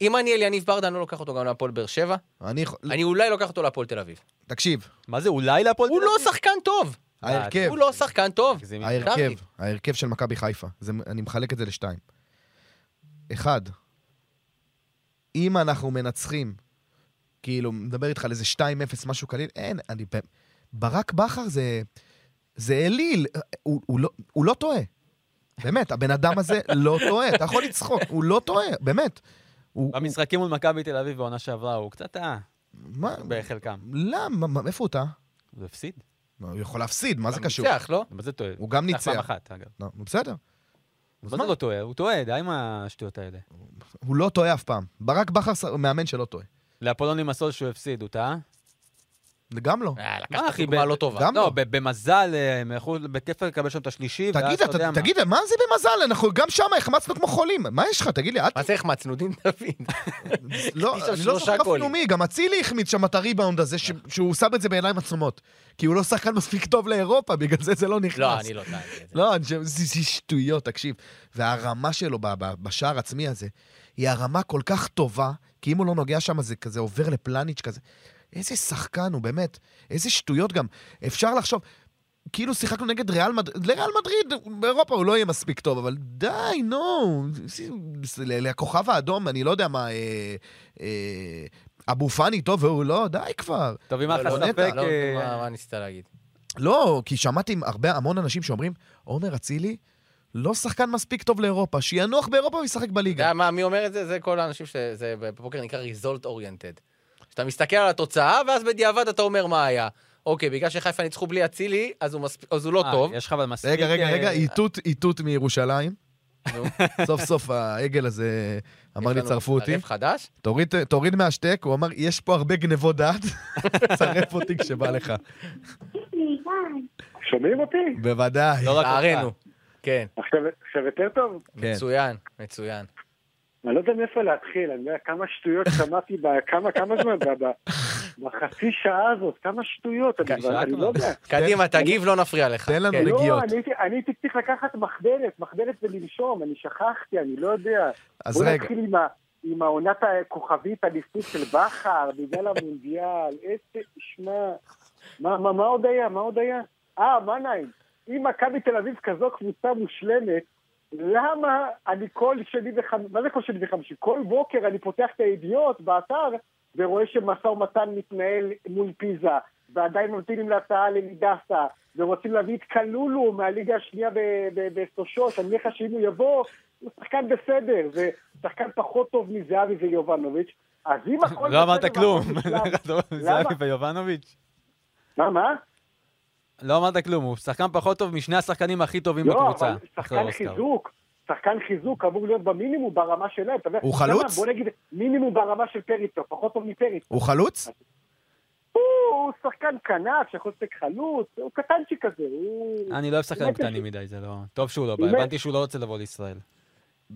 אם אני אליניב ברדה, אני לא לוקח אותו גם להפועל באר שבע. אני יכול... אני אולי לוקח אותו להפועל תל אביב. תקשיב, מה זה, אולי להפועל הוא תל לא אביב? שחקן טוב. ההרכב, הוא לא שחקן טוב. מגזימים. ההרכב, קרני. ההרכב של מכבי חיפה. זה- אני מחלק את זה לשתיים. אחד, אם אנחנו מנצחים, כאילו, מדבר איתך על איזה 2-0, משהו קליל, אין, אני... ב- ברק בכר זה... זה אליל, הוא, הוא, לא, הוא לא טועה. באמת, הבן אדם הזה לא טועה. אתה יכול לצחוק, הוא לא טועה, באמת. הוא, במשחקים מול מכבי תל אביב בעונה שעברה, הוא קצת טעה מה, בחלקם. למה, לא, מה- איפה הוא טעה? הוא הפסיד. לא, הוא יכול להפסיד, מה זה קשור? ניצח, לא? מה זה טועה? הוא גם פעם ניצח. אחת, אגב. לא, נו, בסדר. מה זה לא טועה? הוא טועה, די עם השטויות האלה. הוא לא טועה אף פעם. ברק בכר ס- מאמן שלא טועה. לאפולוני מסול שהוא הפסיד, הוא טעה? גם לא. אה, מה, לקחת אחי, דוגמה ב- לא טובה. גם לא, לא. ב- במזל, אה, מחוץ- בכיף לקבל שם את השלישי, ואז תגיד, אתה יודע אתה- מה. תגיד, מה זה במזל? אנחנו גם שם החמצנו כמו חולים. מה יש לך? תגיד לי, אל ת... מה זה החמצנו? דין דוד. לא, הכניס שם אני שלושה לא זוכר אפילו גולים. מי, גם אצילי החמיץ שם את הריבאונד הזה, ש- שהוא שם את זה בעיניים עצומות. כי הוא לא שחקן מספיק טוב לאירופה, בגלל זה זה לא נכנס. לא, אני לא טענתי את זה. לא, אני חושב, זה זה שטויות, תקשיב. והרמה שלו ב- ב- בשער עצמי הזה, היא הרמה כל כך טובה, כי אם הוא לא נוגע שם, זה כזה עובר לפלניץ' כזה. איזה שחקן הוא, באמת. איזה שטויות גם. אפשר לחשוב, כאילו שיחקנו נגד ריאל מדריד, לריאל מדריד באירופה הוא לא יהיה מספיק טוב, אבל די, נו. זה- זה- לכוכב האדום, אני לא יודע מה, אה, אה, אבו פאני טוב והוא לא, די כבר. טוב, אם לא, היה לך לא, נטע, ספק... לא, אה, מה מה ניסית להגיד? לא, כי שמעתי הרבה, המון אנשים שאומרים, עומר אצילי לא שחקן מספיק טוב לאירופה, שינוח באירופה וישחק אתה בליגה. יודע מה, מי אומר את זה? זה כל האנשים שזה בפוקר נקרא result oriented. שאתה מסתכל על התוצאה, ואז בדיעבד אתה אומר מה היה. אוקיי, בגלל שחיפה ניצחו בלי אצילי, אז הוא מספ- אז הוא לא אה, טוב. יש לך אבל מספיק... רגע, רגע, אה, רגע, איתות, איתות מירושלים. נו. סוף סוף העגל הזה אמר יש לי, לנו צרפו אותי. ערב חדש? תוריד, תוריד מהשטק, הוא אמר, יש פה הרבה גנבות דעת, צרף אותי כשבא לך. שומעים אותי? בוודאי. לא רק לצערנו. אותך. כן, עכשיו עכשיו יותר טוב? כן. מצוין, מצוין. אני לא יודע מאיפה להתחיל, אני יודע כמה שטויות שמעתי, ב- כמה, כמה זמן, ב- ב- בחצי שעה הזאת, כמה שטויות, כן, אני שעה כבר- אני כבר. לא יודע. קדימה, תגיב, לא נפריע לך. תן לנו כן. לג- לא, נגיעות. אני הייתי- אני הייתי צריך לקחת מחדלת, מחדלת ולנשום, אני שכחתי, אני לא יודע. אז בוא רגע, נתחיל עם ה- עם העונת הכוכבית הניסית של בכר, בגלל המונדיאל, איזה... שמע, מה, מה, מה עוד היה? מה עוד היה? אה, מנהיים, אם מכבי תל אביב כזו קבוצה מושלמת, למה אני כל שני וחמישי, מה זה כל שני וחמישי? כל בוקר אני פותח את הידיעות באתר ורואה שמשא ומתן מתנהל מול פיזה, ועדיין ממתינים להצעה לנידסה, ורוצים להביא את קלולו מהליגה השנייה ב- ב- בסושוש, אני מניח שאם הוא יבוא, הוא שחקן בסדר, זה שחקן פחות טוב מזהבי ויובנוביץ', אז אם הכל... לא אמרת בסדר כלום. לא, והכל נפלא, זהבי ויובנוביץ'. מה, מה? לא אמרת כלום, הוא שחקן פחות טוב משני השחקנים הכי טובים לא, בקבוצה. אבל אחרי שחקן אוסקר. חיזוק, שחקן חיזוק אמור להיות במינימום ברמה שלהם. אתה יודע- הוא אתה יודע חלוץ? מה, בוא נגיד מינימום ברמה של פריטו, פחות טוב מפריטו. הוא חלוץ? הוא הוא שחקן כנף, שיכול לשחק חלוץ, הוא קטנצ'יק כזה, הוא... אני לא אוהב שחקנים באמת קטנים קשה. מדי, זה לא... טוב שהוא לא בא, באמת. הבנתי שהוא לא רוצה לבוא לישראל.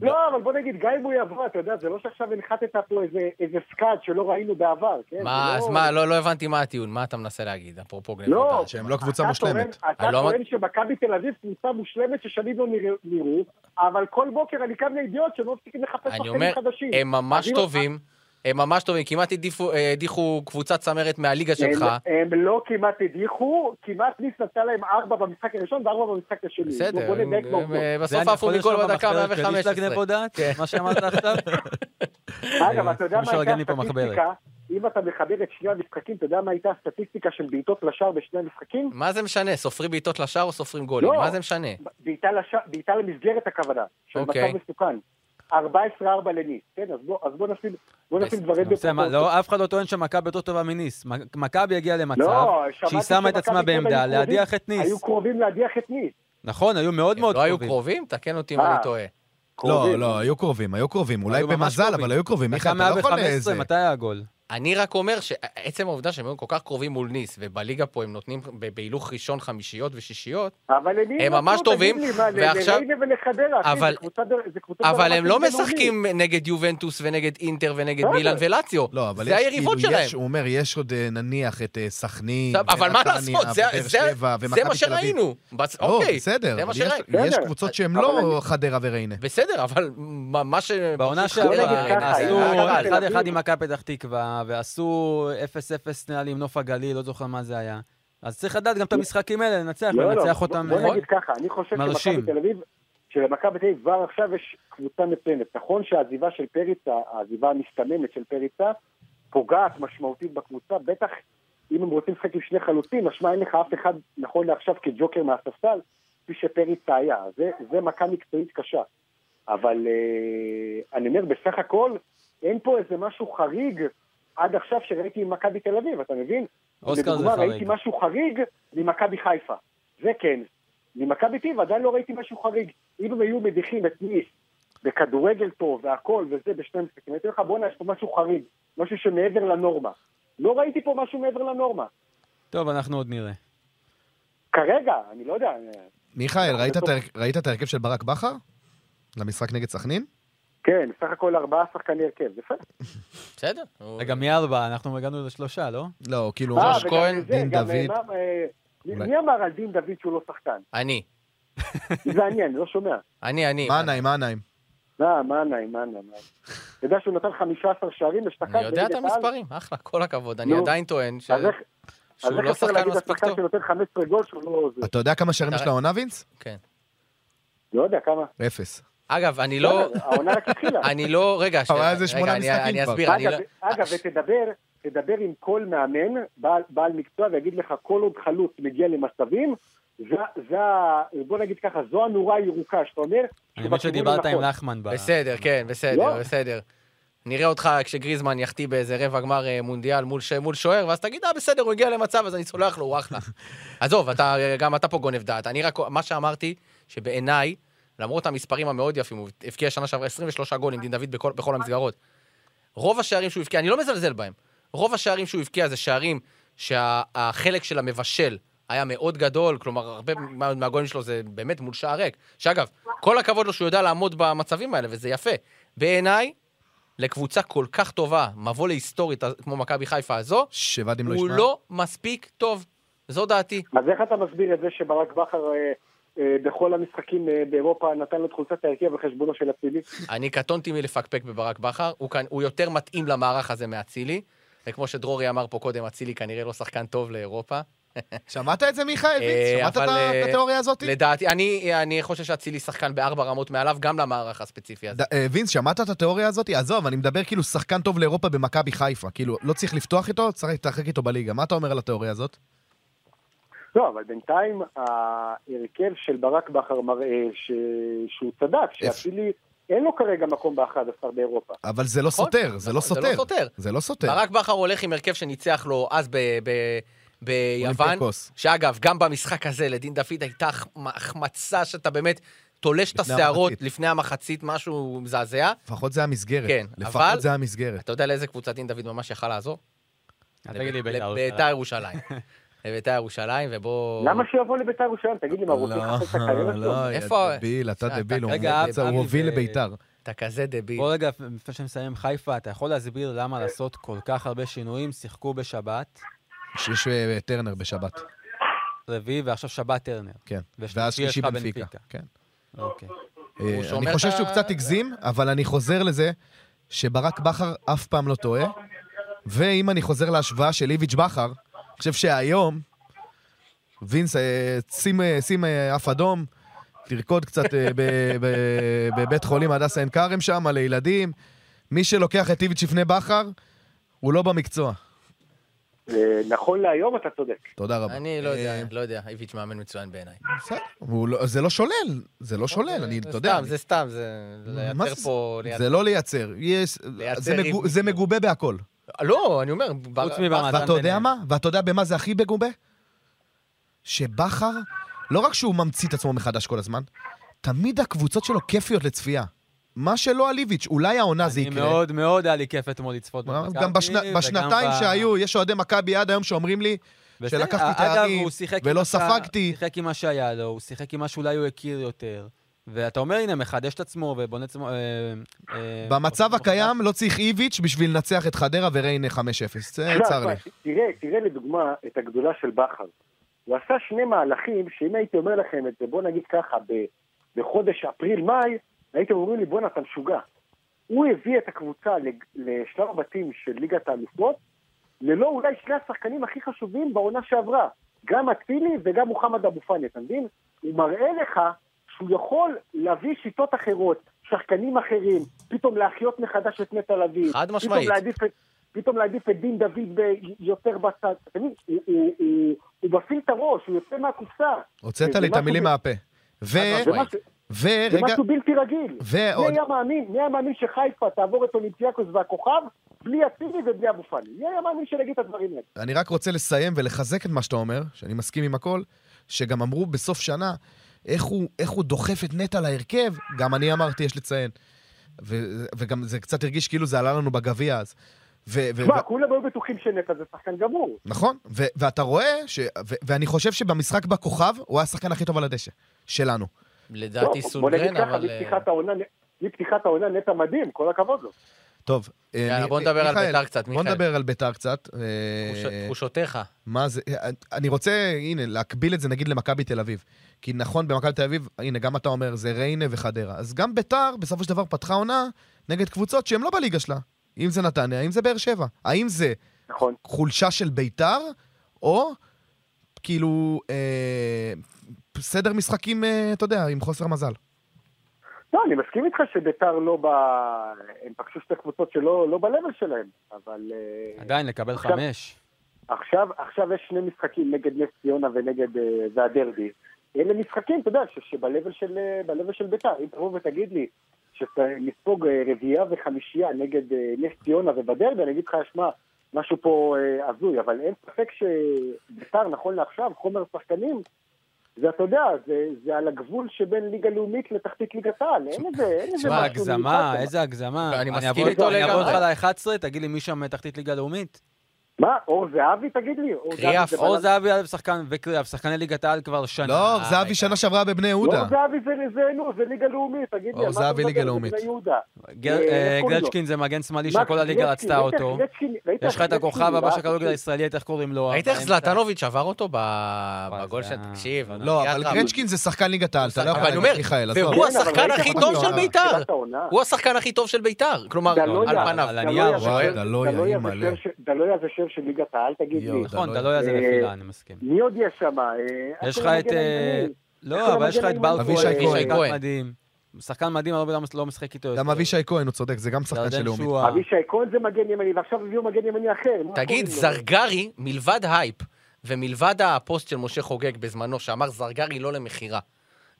לא, אבל בוא נגיד, גם אם הוא יבוא, אתה יודע, זה לא שעכשיו הנחתת פה איזה- איזה סקאד שלא ראינו בעבר, כן? מה, זה אז מה, לא לא הבנתי מה הטיעון, מה אתה מנסה להגיד, אפרופו גנבות לא, דעת. שהם לא קבוצה אתה מושלמת. טוען- אתה אני לא אמר- טוען שמכבי תל אביב קבוצה מושלמת ששנים לא נראו- נראו, אבל כל בוקר אני קם לידיעות שהם לא מפסיקים לחפש אני שחקנים אומר, חדשים. לא- הם ממש אז אם- טובים, הם ממש טובים, כמעט הדיפו- אה, הדיחו קבוצת צמרת מהליגה כן, שלך. הם, הם לא כמעט הדיחו, כמעט ניס נתן להם ארבע במשחק הראשון וארבע במשחק השני. בסדר, בוא הם- נדייק הם, בעובדות. אה, זה בסוף אני עפו יכול מגול לרשום בדקה במחברת שלי של 115. גנבות דעת? מה שאמרת עכשיו? אגב, אתה יודע אי מה אפשר הייתה להגיד לי פה הסטטיסטיקה? אם אתה מחבר את שני המשחקים, אתה יודע מה הייתה הסטטיסטיקה של בעיטות לשער בשני המשחקים? מה זה משנה? סופרים בעיטות לשער או סופרים גולים? לא. מה זה משנה? בעיטה לשע- בעיטה למסגרת הכוונה, של אוקיי. מצב מסוכן. 14-4 לניס, כן? אז בוא- אז בוא נשים- בוא נשים בס- דברים בסדר, מה, בפרופורציה. לא, אף אחד לא טוען שמכבי יותר טובה מניס. מק- מכבי הגיעה למצב לא, שהיא שמעתי שמה את שמכבי עצמה תל אביב בעמדה היו להדיח קרובים- את ניס. היו קרובים להדיח את ניס. נכון, היו מאוד הם מאוד לא היו קרובים. קרובים? תקן אותי אם אני אה. טועה. לא, קרובים. לא, היו קרובים, היו קרובים. אולי היו ממש במזל, קרובים. אבל היו קרובים. מיכה, דקה אתה לא יכול 115, איזה... מתי היה הגול? אני רק אומר שעצם העובדה שהם היו כל כך קרובים מול ניס, ובליגה פה הם נותנים ב- בהילוך ראשון חמישיות ושישיות, אבל למי הם נתנו? ממש תגיד טובים, לי, מה, ועכשיו- לריינה ולחדרה, אחי, אבל- זה קבוצה בר- זה קבוצה אבל ברמה הם לא של בינוני. משחקים נגד יובנטוס ונגד אינטר ונגד בסדר. מילאן ולציו. לא, אבל זה יש, היריבות כאילו, שלהם. יש, הוא אומר, יש עוד אה, נניח את אה, סכנין, טוב, אבל מה ונתניה, לעשות? זה- ובאר זה- שבע, זה ומכבי מה תל אביב. שראינו. בס- לא, אוקיי, בסדר, זה מה אבל שראינו. יש, יש בסדר. קבוצות שהן אבל לא חדרה וריינה. בסדר, אבל מה מה אה, ש... בעונה נגד שעברה ככה, עשו היה ככה, תל 1-1 אביב. עם מכבי פתח תקווה, ועשו 0-0 נראה לי עם נוף הגליל, לא זוכר מה זה היה. אז צריך לדעת גם את המשחקים האלה, לנצח, לא, לא, לנצח בוא- אותם. בוא אה, נגיד ככה, אני חושב מרשים. שמכבי תל אביב, שלמכבי תל אביב כבר עכשיו יש קבוצה מצוינת. נכון שהעזיבה של פריצה, העזיבה המסתממת של פריצה, פוגעת משמעותית בקבוצה, בטח אם הם רוצים לשחק עם שני חלוצים, משמע אין לך אף אחד נכון לעכשיו כג'וקר מהספסל, כפי שפריצה היה. זה, זה מכה מקצועית קשה. אבל אה, אני אומר, בסך הכל, אין פה איזה משהו חריג עד עכשיו שראיתי עם מכבי תל אביב, אתה מבין? אוסקר זה לדוגמה, חריג. ראיתי משהו חריג ממכבי חיפה. זה כן. ממכבי טיב עדיין לא ראיתי משהו חריג. אם הם היו מדיחים את ניס בכדורגל פה והכל וזה בשני משחקים, הייתי אומר לך, בואנה, יש פה משהו חריג, משהו שמעבר לנורמה. לא ראיתי פה משהו מעבר לנורמה. טוב, אנחנו עוד נראה. כרגע, אני לא יודע, מיכאל, ראית את בסוף. ההר- ראית את ההרכב של ברק בכר? למשחק נגד סכנין? כן, סך הכל ארבעה שחקני הרכב, יפה. בסדר. הוא- רגע, מארבע, אנחנו הגענו לשלושה, לא? לא, כאילו... אה, שוש וגם כהן, זה, דין גם, דוד. אה, מה, אה, אולי. מי אמר על דין דוד שהוא לא שחקן? אני. זה אני, אני לא שומע. אני, אני. מה נעים, מה נעים? מה, מה נעים, מה נעים. אתה יודע שהוא נתן 15 שערים אשתקד. אני יודע את המספרים, אחלה, כל הכבוד. אני נו. עדיין טוען ש- אז איך אז שהוא איך לא אפשר שחקן להגיד על מספיק שחקן טוב. שנותן 15 גול שהוא לא... זה? אתה יודע כמה שערים אתה יש ר- לעונה, וינס? כן. לא יודע כמה. אפס. אגב, אני לא... בסדר, העונה רק התחילה. אני לא... רגע, אבל שנייה, אז זה שמונה רגע, אני- משחקים אני כבר. אסביר, אני אגב, לא... אגב, ותדבר, תדבר עם כל מאמן, בעל, בעל מקצוע, ויגיד לך, כל עוד חלוץ מגיע למצבים, זה, זה, ה- בוא נגיד ככה, זו הנורה הירוקה, שאתה אומר, אני מבין שבכיוון שדיברת הנכון. עם נחמן. ב- בסדר, כן, בסדר, לא. בסדר. נראה אותך כשגריזמן יחטיא באיזה רבע גמר אה, מונדיאל מול ש- מול שוער, ואז תגיד, אה, בסדר, הוא הגיע למצב, אז אני סולח לו, הוא אחלה. עזוב, אתה, אה, גם אתה פה גונב דעת. אני רק, מה שאמרתי, שבעיניי, למרות המספרים המאוד יפים, הוא הבקיע שנה שעברה 23 גולים, דין דוד, בכל, בכל המסגרות. רוב השערים שהוא הבקיע, אני לא מזלזל בהם, רוב השערים שהוא הבקיע זה שערים שהחלק של המבשל היה מאוד גדול, כלומר, הרבה מה- מהגולים שלו זה באמת מול שער ריק. שאגב, כל הכבוד לו שהוא יודע לעמוד במצבים האלה, וזה יפה. בעיניי, לקבוצה כל כך טובה, מבוא להיסטורית כמו מכבי חיפה הזו, שוואדים לא הוא ישמע. לא מספיק טוב. זו דעתי. אז איך אתה מסביר את זה שברק בכר אה, אה, בכל המשחקים אה, באירופה נתן לו את חולצת ההרכב על חשבונו של אצילי? אני קטונתי מלפקפק בברק בכר, הוא, כאן, הוא יותר מתאים למערך הזה מאצילי, וכמו שדרורי אמר פה קודם, אצילי כנראה לא שחקן טוב לאירופה. שמעת את זה, מיכאל? אה, שמעת אבל, את ה- אה, את התיאוריה הזאת? לדעתי, אני, אני חושב שאצילי שחקן בארבע רמות מעליו, גם למערך הספציפי הזה. ד- אה, וינס, שמעת את התיאוריה הזאת? עזוב, אני מדבר כאילו שחקן טוב לאירופה במכבי חיפה. כאילו, לא צריך לפתוח איתו, צריך להתרחק איתו בליגה. מה אתה אומר על התיאוריה הזאת? לא, אבל בינתיים ההרכב של ברק בכר מראה ש... שהוא צדק, שאצילי אין לו כרגע מקום ב-11 באירופה. אבל זה לא נכון, סותר, זה לא נכון, זה לא סותר. סותר. זה לא סותר. ברק בכר הולך עם הרכב שניצח לו אז ב... ב- ביוון, אולימפיאקוס. שאגב, גם במשחק הזה לדין דוד הייתה הח- החמצה שאתה באמת תולש את לפני השערות המחצית. לפני המחצית, משהו מזעזע. לפחות זה המסגרת. כן, אבל- לפחות זה המסגרת. אתה יודע לאיזה קבוצת דין דוד ממש יכל לעזור? אל תגיד לי לב- לבית"ר בית"ר ירושלים. ירושלים. לבית"ר ירושלים, ובוא... למה שיבוא לביתר ירושלים? תגיד לי, מה, לא, רוצים לחפש את הקריירה שלו? איפה- יא דביל, אתה אתה- דביל, הוא רגע, מוצא, אבי, הוא הוביל ו- לביתר. אתה כזה דביל. בוא רגע, לפני שנסיים חיפה, אתה יכול להסביר למה לעשות כל כך הרבה שינויים? שיחקו בשבת, יש- יש אה, טרנר בשבת, רביעי ועכשיו שבת טרנר. כן. ושלישי ואז שלישי יש לך בנפיקה. בנפיקה. כן. אוקיי. אה, שומר אני את חושב ה- שהוא קצת הגזים, אבל אני חוזר לזה שברק בכר אף פעם לא טועה, ואם אני חוזר להשוואה של איביץ' בכר, אני חושב שהיום, וינס, אה, שים, אה, שים אה, אף אדום, תרקוד קצת אה, ב- ב- בבית חולים הדסה עין כרם שם, לילדים. מי שלוקח את איביץ' לפני בכר, הוא לא במקצוע. אה, נכון להיום אתה צודק. תודה רבה. אני לא יודע, אה, לא יודע, איביץ' מאמן מצוין בעיניי. בסדר, הוא לא- זה לא שולל, זה לא שולל, אני, אוקיי, זה אתה יודע, כאילו, סתם, זה סתם, זה... מה לייצר זה- פה... לייצר- זה לא לייצר, יש- לייצר זה מגו- ריב. זה מגובה בהכל. לא, אני אומר... בר- חוץ מברק. ואתה יודע ביניהם. מה? ואתה יודע במה זה הכי מגובה? שבכר, לא רק שהוא ממציא את עצמו מחדש כל הזמן, תמיד הקבוצות שלו כיפיות לצפייה. מה שלא על איביץ', אולי העונה זה אני יקרה. מאוד מאוד היה לי כיף אתמול לצפות במכבי. גם בשנ- וגם בשנתיים ב- שהיו, יש אוהדי מכבי עד היום שאומרים לי, בסדר, שלקחתי אגב, תארים הוא שיחק עם ולא מה שה- ספגתי. שיחק עם מה שהיה לו, הוא שיחק עם מה שאולי הוא הכיר יותר. ואתה אומר, הנה, מחדש את עצמו ובונה את עצמו... אה, אה, במצב עושה מחדש. הקיים לא צריך איביץ' בשביל לנצח את חדרה וריינה 5-0. זה לא, צר אבל לי. תראה, תראה לדוגמה את הגדולה של בכר. הוא עשה שני מהלכים, שאם הייתי אומר לכם את זה, בוא נגיד ככה, ב- בחודש אפריל-מאי, הייתם אומרים לי, בואנה, אתה משוגע. הוא הביא את הקבוצה לג- לשלב הבתים של ליגת האלופות, ללא אולי שני השחקנים הכי חשובים בעונה שעברה. גם אצילי וגם מוחמד אבו פאני, אתה מבין? הוא מראה לך שהוא יכול להביא שיטות אחרות, שחקנים אחרים, פתאום להחיות מחדש את נטע לביא. חד פתאום משמעית. להעדיף את- פתאום להעדיף את דין דוד ב- יותר בצד. אתה מבין? הוא- הוא- הוא- הוא מפעיל את הראש, הוא יוצא מהקופסה. הוצאת זה לי את משהו המילים ב- מהפה. ו... זה משהו- זה נכון. ורגע... משהו בלתי רגיל. מי ועוד... היה מאמין, מי היה מאמין שחיפה תעבור את אולימפיאקוס והכוכב בלי אצילי ובלי אבו פאני? מי היה מאמין שנגיד את הדברים האלה? אני רק רוצה לסיים ולחזק את מה שאתה אומר, שאני מסכים עם הכל, שגם אמרו בסוף שנה, איך הוא, איך הוא דוחף את נטע להרכב, גם אני אמרתי, יש לציין. ו, וגם זה קצת הרגיש כאילו זה עלה לנו בגביע אז. ו, ו, מה, כולם היו בטוחים שנטע זה שחקן גמור. נכון, ו, ואתה רואה, ש, ו, ואני חושב שבמשחק בכוכב, הוא היה השחקן הכי טוב על הדשא, שלנו. לדעתי טוב, לא, בוא נגיד סונגרן, ככה, אבל... אה, מפתיחת העונה- מפתיחת העונה נטע מדהים, כל הכבוד לו. טוב. אה, יאללה, מ- בוא נדבר על מיכאל, בית"ר קצת, מיכאל. בוא נדבר על ביתר קצת. אה, תחוש- תחושותיך. מה זה, אה, אני רוצה, הנה, להקביל את זה נגיד למכבי תל אביב. כי נכון, במכבי תל אביב, הנה, גם אתה אומר, זה ריינה וחדרה. אז גם ביתר, בסופו של דבר, פתחה עונה נגד קבוצות שהן לא בליגה שלה. אם זה נתניה, אם זה באר שבע. האם זה נכון. חולשה של ביתר, או כאילו אה, סדר משחקים, אה, אתה יודע, עם חוסר מזל. לא, אני מסכים איתך שביתר לא ב... הם פגשו שתי קבוצות שלא לא ב-level שלהם, אבל... אה, עדיין, לקבל עכשיו- חמש. עכשיו, עכשיו יש שני משחקים נגד נס ציונה ונגד אה, זה הדרבי. אלה משחקים, אתה יודע, ש- שבלבל של, אה, בלבל של ביתר, אם תבוא ותגיד לי שנספוג רביעייה וחמישייה נגד אה, נס ציונה ובדרבי, אני אגיד לך, שמע, משהו פה אה, הזוי, אבל אין ספק שביתר, נכון לעכשיו, חומר שחקנים, זה, אתה יודע, זה, זה על הגבול שבין ליגה לאומית לתחתית ליגת העל, אין איזה אין איזה תשמע, משהו הגזמה, מיוחד. איזה הגזמה. ואני מסכים אעבור- איתו אני אעבור לגמרי. איתך ל-11, תגיד לי, מי שם תחתית ליגה לאומית? מה, אור זהבי, תגיד לי? אור זהבי קריאף, זה אור בלם? זהבי היה שחקן וקריאף, שחקני ליגת העל כבר שנה. לא, זהבי אה, רגע. שנה שעברה בבני יהודה. אור לא, זהבי זה, זה, נו, זה ליגה לאומית, תגיד לי. אור על מה אתה זהבי מדבר? ליגה זה לאומית. בני יהודה. גר- אה, אה, איך קוראים לו? גלצ'קין זה מגן שמאלי מה, שכל הליגה גרצ'קין, רצתה ראית- אותו. גרצ'קין, ראית יש לך את גרצ'קין הכוכב הבא בעט? של הכדורגל הישראלי, איך קוראים לו? ראית איך אה, באמצע? זלטנוביץ' עבר אותו ב- וואי, בגול זה של... היה- תקשיב. לא, בחייאת אבל רב. גרצ'קין זה שחקן ליגת העל, אתה לא אבל יכול אני להגיד אומר, מיכאל, עזוב. אה, והוא כן, אבל השחקן ראית הכי את טוב העונה, של ביתר. תחילת העונה. הוא השחקן הכי טוב של ביתר. כלומר, דלויה, על פניו. על דלויה הנייר, זה וואי, שם- דלויה, דלויה זה אימא'לה. שם ש- דלויה זה שם של ליגת העל, תגיד לי. יואו, נכון, דלויה. דלויה זה אה, נפילה, אני מסכים. מי עוד יש שם? אה, יש לך אשכרה את... מגן אה, הימני. איך לא, הוא אבל יש לך את המגן בר הימני? אבישי כהן, כהן. שחקן כהן. מדהים. שחקן מדהים, הרבה לא- לא משחק איתו. גם יותר. אבישי כהן, הוא צודק, זה גם שחקן של ירדן לאומית. שועה. אבישי כהן זה מגן ימני, ועכשיו הביאו מגן ימני אחר. מה תגיד, קוראים לו? זרגרי, מלבד הייפ, ומלבד הפוסט של משה חוגג בזמנו, שאמר זרגרי לא למכירה,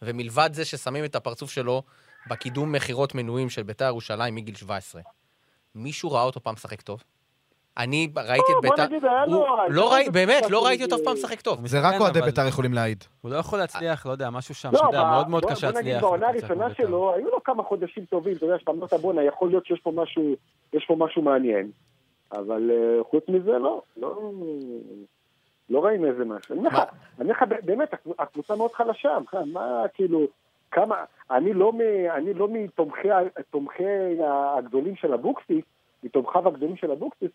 ומלבד זה ששמים את הפרצוף שלו בקידום מכירות מנויים של ביתר ירושלים מגיל 17, מישהו ראה אותו פעם משחק טוב? אני ראיתי את אה, בוא ביתר... נגיד, היה לו- הוא- היה לא לו ראי- את באמת, המשחק לא של- ראיתי אותו אף פעם משחק טוב. הוא זה מסכן, רק אוהדי אבל בית"ר יכולים להעיד. הוא לא יכול להצליח, לא יודע, משהו שם, לא, שאתה יודע, אבל מאוד מאוד בוא- קשה בוא נגיד להצליח. בעונה לקבוצה כמו הראשונה בית"ר. שלו, היו לו כמה חודשים טובים, אתה יודע, שאתה אמרת בואנה, יכול להיות שיש פה משהו, יש פה משהו מעניין. אבל אה, חוץ מזה, לא, לא, לא ראינו איזה משהו. אני אומר לך- אני אומר לך, ב- באמת, הקב- הקבוצה מאוד חלשה, מה- מה, כאילו, כמה, אני לא מ- אני לא מתומכי ה- תומכי ה- הגדולים של אבוקסיס, מתומכיו הגדולים של אבוקסיס,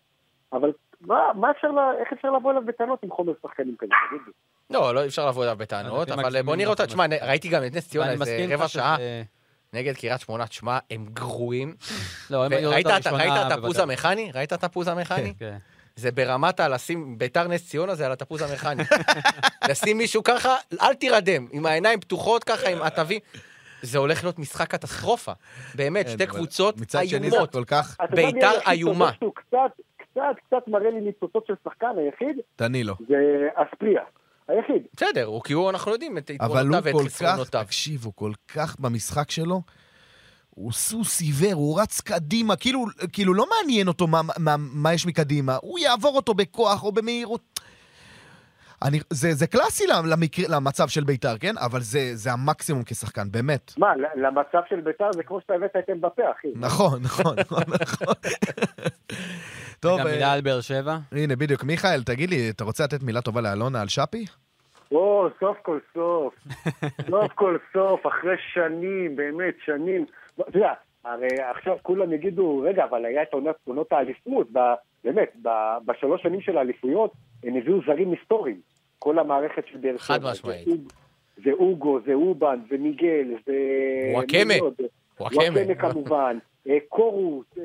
אבל מה, מה אפשר, לה- איך אפשר לבוא אליו בטענות עם חומר שחקנים כזה, תגיד לי? לא, לא, אי אפשר לבוא אליו בטענות, אנחנו אבל מקסימים, בוא נראה אותה. אנחנו תשמע, ראיתי גם את נס ציונה ואני איזה מסכים רבע איתך שזה- שעה נגד קריית שמונה, תשמע, הם גרועים. לא, הם היו וראית אותה את- ראית ראשונה את הפוז בוודאי. המכני? ראית את הפוז המכני? כן, זה ברמת הלשים, ביתר נס ציונה זה על התפוז המכני. לשים מישהו ככה, אל תירדם, עם העיניים פתוחות ככה, עם עטבים. זה הולך להיות משחק קטסטרופה. באמת, כן, שתי אבל קבוצות מצד שני זה איומות. כל כך... אתה יודע מי בית"ר היחיד איומה. צודק שהוא קצת, קצת, קצת מראה לי ניצוצות של שחקן, היחיד, דנילו. זה אספריה. היחיד. בסדר, הוא כי הוא, אנחנו יודעים את אבל הוא יתרונותיו ואת כל כך, חסרונותיו. תקשיב, הוא כל כך במשחק שלו, הוא סוס עיוור, הוא רץ קדימה, כאילו, כאילו לא מעניין אותו מה, מה, מה יש מקדימה, הוא יעבור אותו בכוח או במהירות. אני, זה, זה קלאסי למקרה, למצב של בית"ר, כן? אבל זה, זה המקסימום כשחקן, באמת. מה, ל- למצב של בית"ר זה כמו שאתה הבאת את אמבפה, אחי. נכון, נכון, נכון, נכון. טוב, גם אה, מילה על באר שבע. הנה, בדיוק. מיכאל, תגיד לי, אתה רוצה לתת מילה טובה לאלונה על שפי? או, סוף כל סוף. סוף כל סוף, אחרי שנים, באמת, שנים. אתה יודע, הרי עכשיו כולם יגידו, רגע, אבל היה את עונת- עונות האליפות, ב- באמת, ב- בשלוש שנים של האליפויות, הם הביאו זרים היסטוריים. כל המערכת של באר שבע. חד זה משמעית. אוג- זה אוגו, זה אובן, זה מיגל, זה... וואקמה. מי עוד? וואקמה. וואקמה כמובן, אה, קורוס, אה,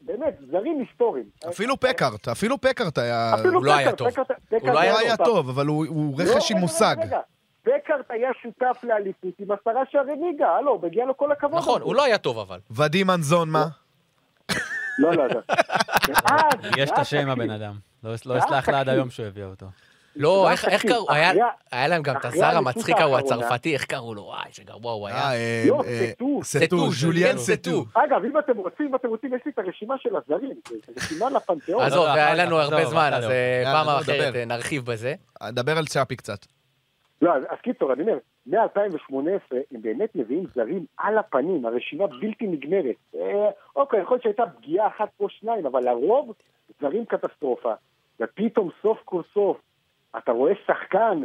באמת, זרים היסטוריים. אפילו פקארט, אפילו פקארט היה... אפילו הוא לא היה פקארט, טוב. פקארט- הוא פקארט לא היה טוב. טוב, אבל הוא- הוא לא, רכש עם רגע, מושג. רגע, רגע. פקארט היה שותף לאליפות עם עשרה שערי ליגה, הלו, מגיע לו כל הכבוד. נכון, הזה. הוא לא היה טוב אבל. ודים אנזון, מה? לא, לא, לא. ואז- יש את ואז השם תקשיב, הבן אדם. לא לא אה, ואז אסלח לה עד תקשיב. היום שהוא הביא אותו. לא, ואז איך איך תקשיב, קראו? היה- אחרי- היה להם גם את אחרי הזר האליפות המצחיק ההוא, האחרונה- הצרפתי, איך קראו לו? וואי, שגרוע הוא היה. אה, אה, לא, אה, סטו. סטו, ז'וליאן כן, סטו. אגב, אם אתם רוצים, אם אתם רוצים, יש לי את הרשימה של הזרים, זה רשימה אה, לפנתיאון. אז- עזוב, לא, לא, היה אחר לנו כך, הרבה עזוב, זמן, אתה אז לא. אה, יאללה, פעם בוא אחרת נדבר. אה, נרחיב בזה. דבר על צ'אפי קצת. לא, אז- אז קיצור, אני אומר, מ-2018 הם באמת מביאים זרים על הפנים, הרשימה בלתי נגמרת. אה, אוקיי, יכול להיות שהייתה פגיעה אחת פה שניים, אבל לרוב זרים קטסטרופה. ופתאום סוף כל סוף אתה רואה שחקן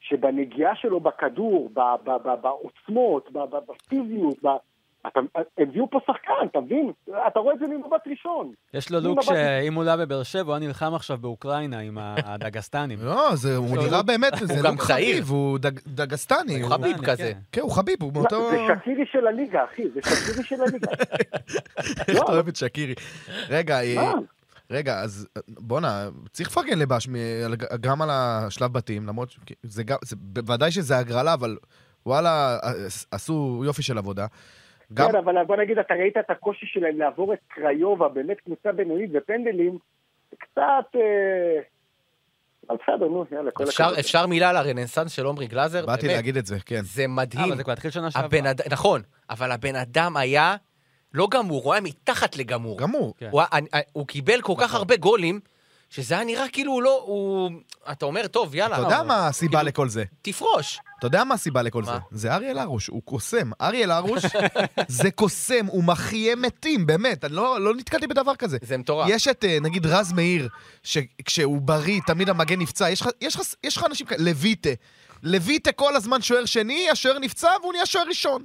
שבנגיעה שלו בכדור, ב- ב- ב- בעוצמות, ב- ב- בפיזיות, ב- אתה- הביאו פה שחקן, אתה מבין? אתה רואה את זה ממבט ראשון. יש לו אם לוק הבנתי- שאם הוא לא היה בבאר שבע, הוא היה נלחם עכשיו באוקראינה עם הדגסטנים. אה, לא, זה- הוא נראה באמת, זה גם לא צעיר. חביב, הוא דג- דגסטני. הוא הוא- חביב כן. כזה. כן, הוא חביב, הוא מאותו... לא, זה שקירי של הליגה, אחי, זה שקירי של הליגה. איך אתה אוהב את שקירי. רגע, אה, לא. מה? רגע, אז אה, בואנה, צריך לפרגן לבאש מ- על- גם על השלב בתים, למרות שזה גם, זה- בוודאי שזה הגרלה, אבל וואלה, עשו יופי אה, של עבודה. גם- כן, אבל בוא נגיד, אתה ראית את הקושי שלהם לעבור את קריובה, באמת קבוצה בינונית ופנדלים, קצת... אה, אבל בסדר, נו, יאללה, כל אפשר- אפשר מילה על הרנסאנס של עומרי גלאזר? באתי באמת, להגיד את זה, כן. זה אה, מדהים. אבל זה כבר התחיל שנה שעברה. הבן אדם, נכון, אבל הבן אדם היה לא גמור, הוא היה מתחת לגמור. גמור. כן. נכון. הוא, היה- אני- אני- הוא קיבל כל כך הרבה גולים, שזה היה נראה כאילו הוא לא, הוא... אתה אומר, טוב, יאללה, אתה יודע אבל- מה הסיבה כאילו- לכל זה? תפרוש. אתה יודע מה הסיבה לכל מה? זה? זה אריאל הרוש, הוא קוסם. אריאל הרוש זה קוסם, הוא מחיה מתים, באמת. אני לא לא נתקלתי בדבר כזה. זה מטורף. יש את, אה, נגיד, רז מאיר, שכשהוא בריא, תמיד המגן נפצע. יש לך- יש לך- יש לך אנשים כאלה, לויטה. לויטה כל הזמן שוער שני, השוער נפצע והוא נהיה שוער ראשון.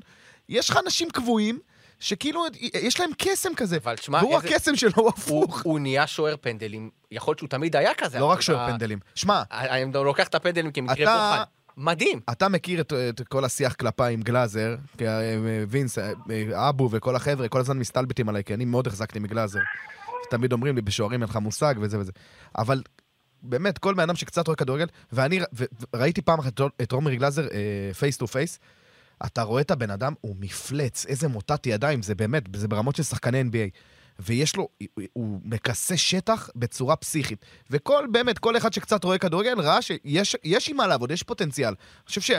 יש לך אנשים קבועים, שכאילו, יש להם קסם כזה. אבל תשמע, והוא איזה- הקסם שלו, הוא הוא, הפוך. הוא נהיה שוער פנדלים, יכול להיות שהוא תמיד היה כזה. לא אבל רק שוער אתה- פנדלים. שמע, אני אני לוקח את הפנדלים כמקרה אתה- בוחן. מדהים. אתה מכיר את, את כל השיח כלפיי עם גלאזר, כי אה, אה, וינס, אה, אה, אבו וכל החבר'ה כל הזמן מסתלבטים עליי, כי אני מאוד החזקתי מגלאזר. תמיד אומרים לי, בשוערים אין לך מושג וזה וזה. אבל באמת, כל בן אדם שקצת רואה כדורגל, ואני ר- ו- ראיתי פעם אחת את עומרי גלאזר אה, פייס טו פייס, אתה רואה את הבן אדם, הוא מפלץ, איזה מוטת ידיים, זה באמת, זה ברמות של שחקני NBA. ויש לו, הוא- הוא מכסה שטח בצורה פסיכית. וכל, באמת, כל אחד שקצת רואה כדורגל ראה שיש יש עם מה לעבוד, יש פוטנציאל. אני חושב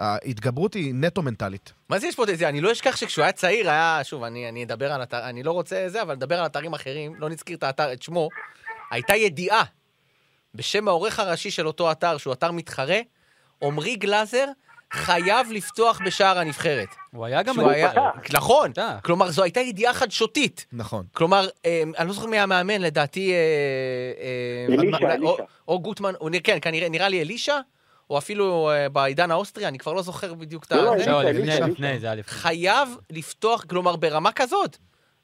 שההתגברות היא נטו מנטלית. מה זה יש פה את זה? אני לא אשכח שכשהוא היה צעיר היה, שוב, אני, אני אדבר על אתר, אני לא רוצה זה, אבל נדבר על אתרים אחרים, לא נזכיר את האתר, את שמו. הייתה ידיעה בשם העורך הראשי של אותו אתר, שהוא אתר מתחרה, עמרי גלאזר חייב לפתוח בשער הנבחרת. הוא היה גם... שהוא היה... בליגה. נכון. פתח. כלומר, זו הייתה ידיעה חדשותית. נכון. כלומר, אה, אני לא זוכר מי המאמן, לדעתי... אה, אה, אלישע, אולי- או- אלישע. או גוטמן, הוא נראה- כן, כנראה, נראה לי אלישע, או אפילו אה, בעידן האוסטרי, אני כבר לא זוכר בדיוק את לא, ה... אלישע, זה. לא, אלישע, לפני, אלישע. לפני, זה היה לפני. חייב לפתוח, כלומר, ברמה כזאת.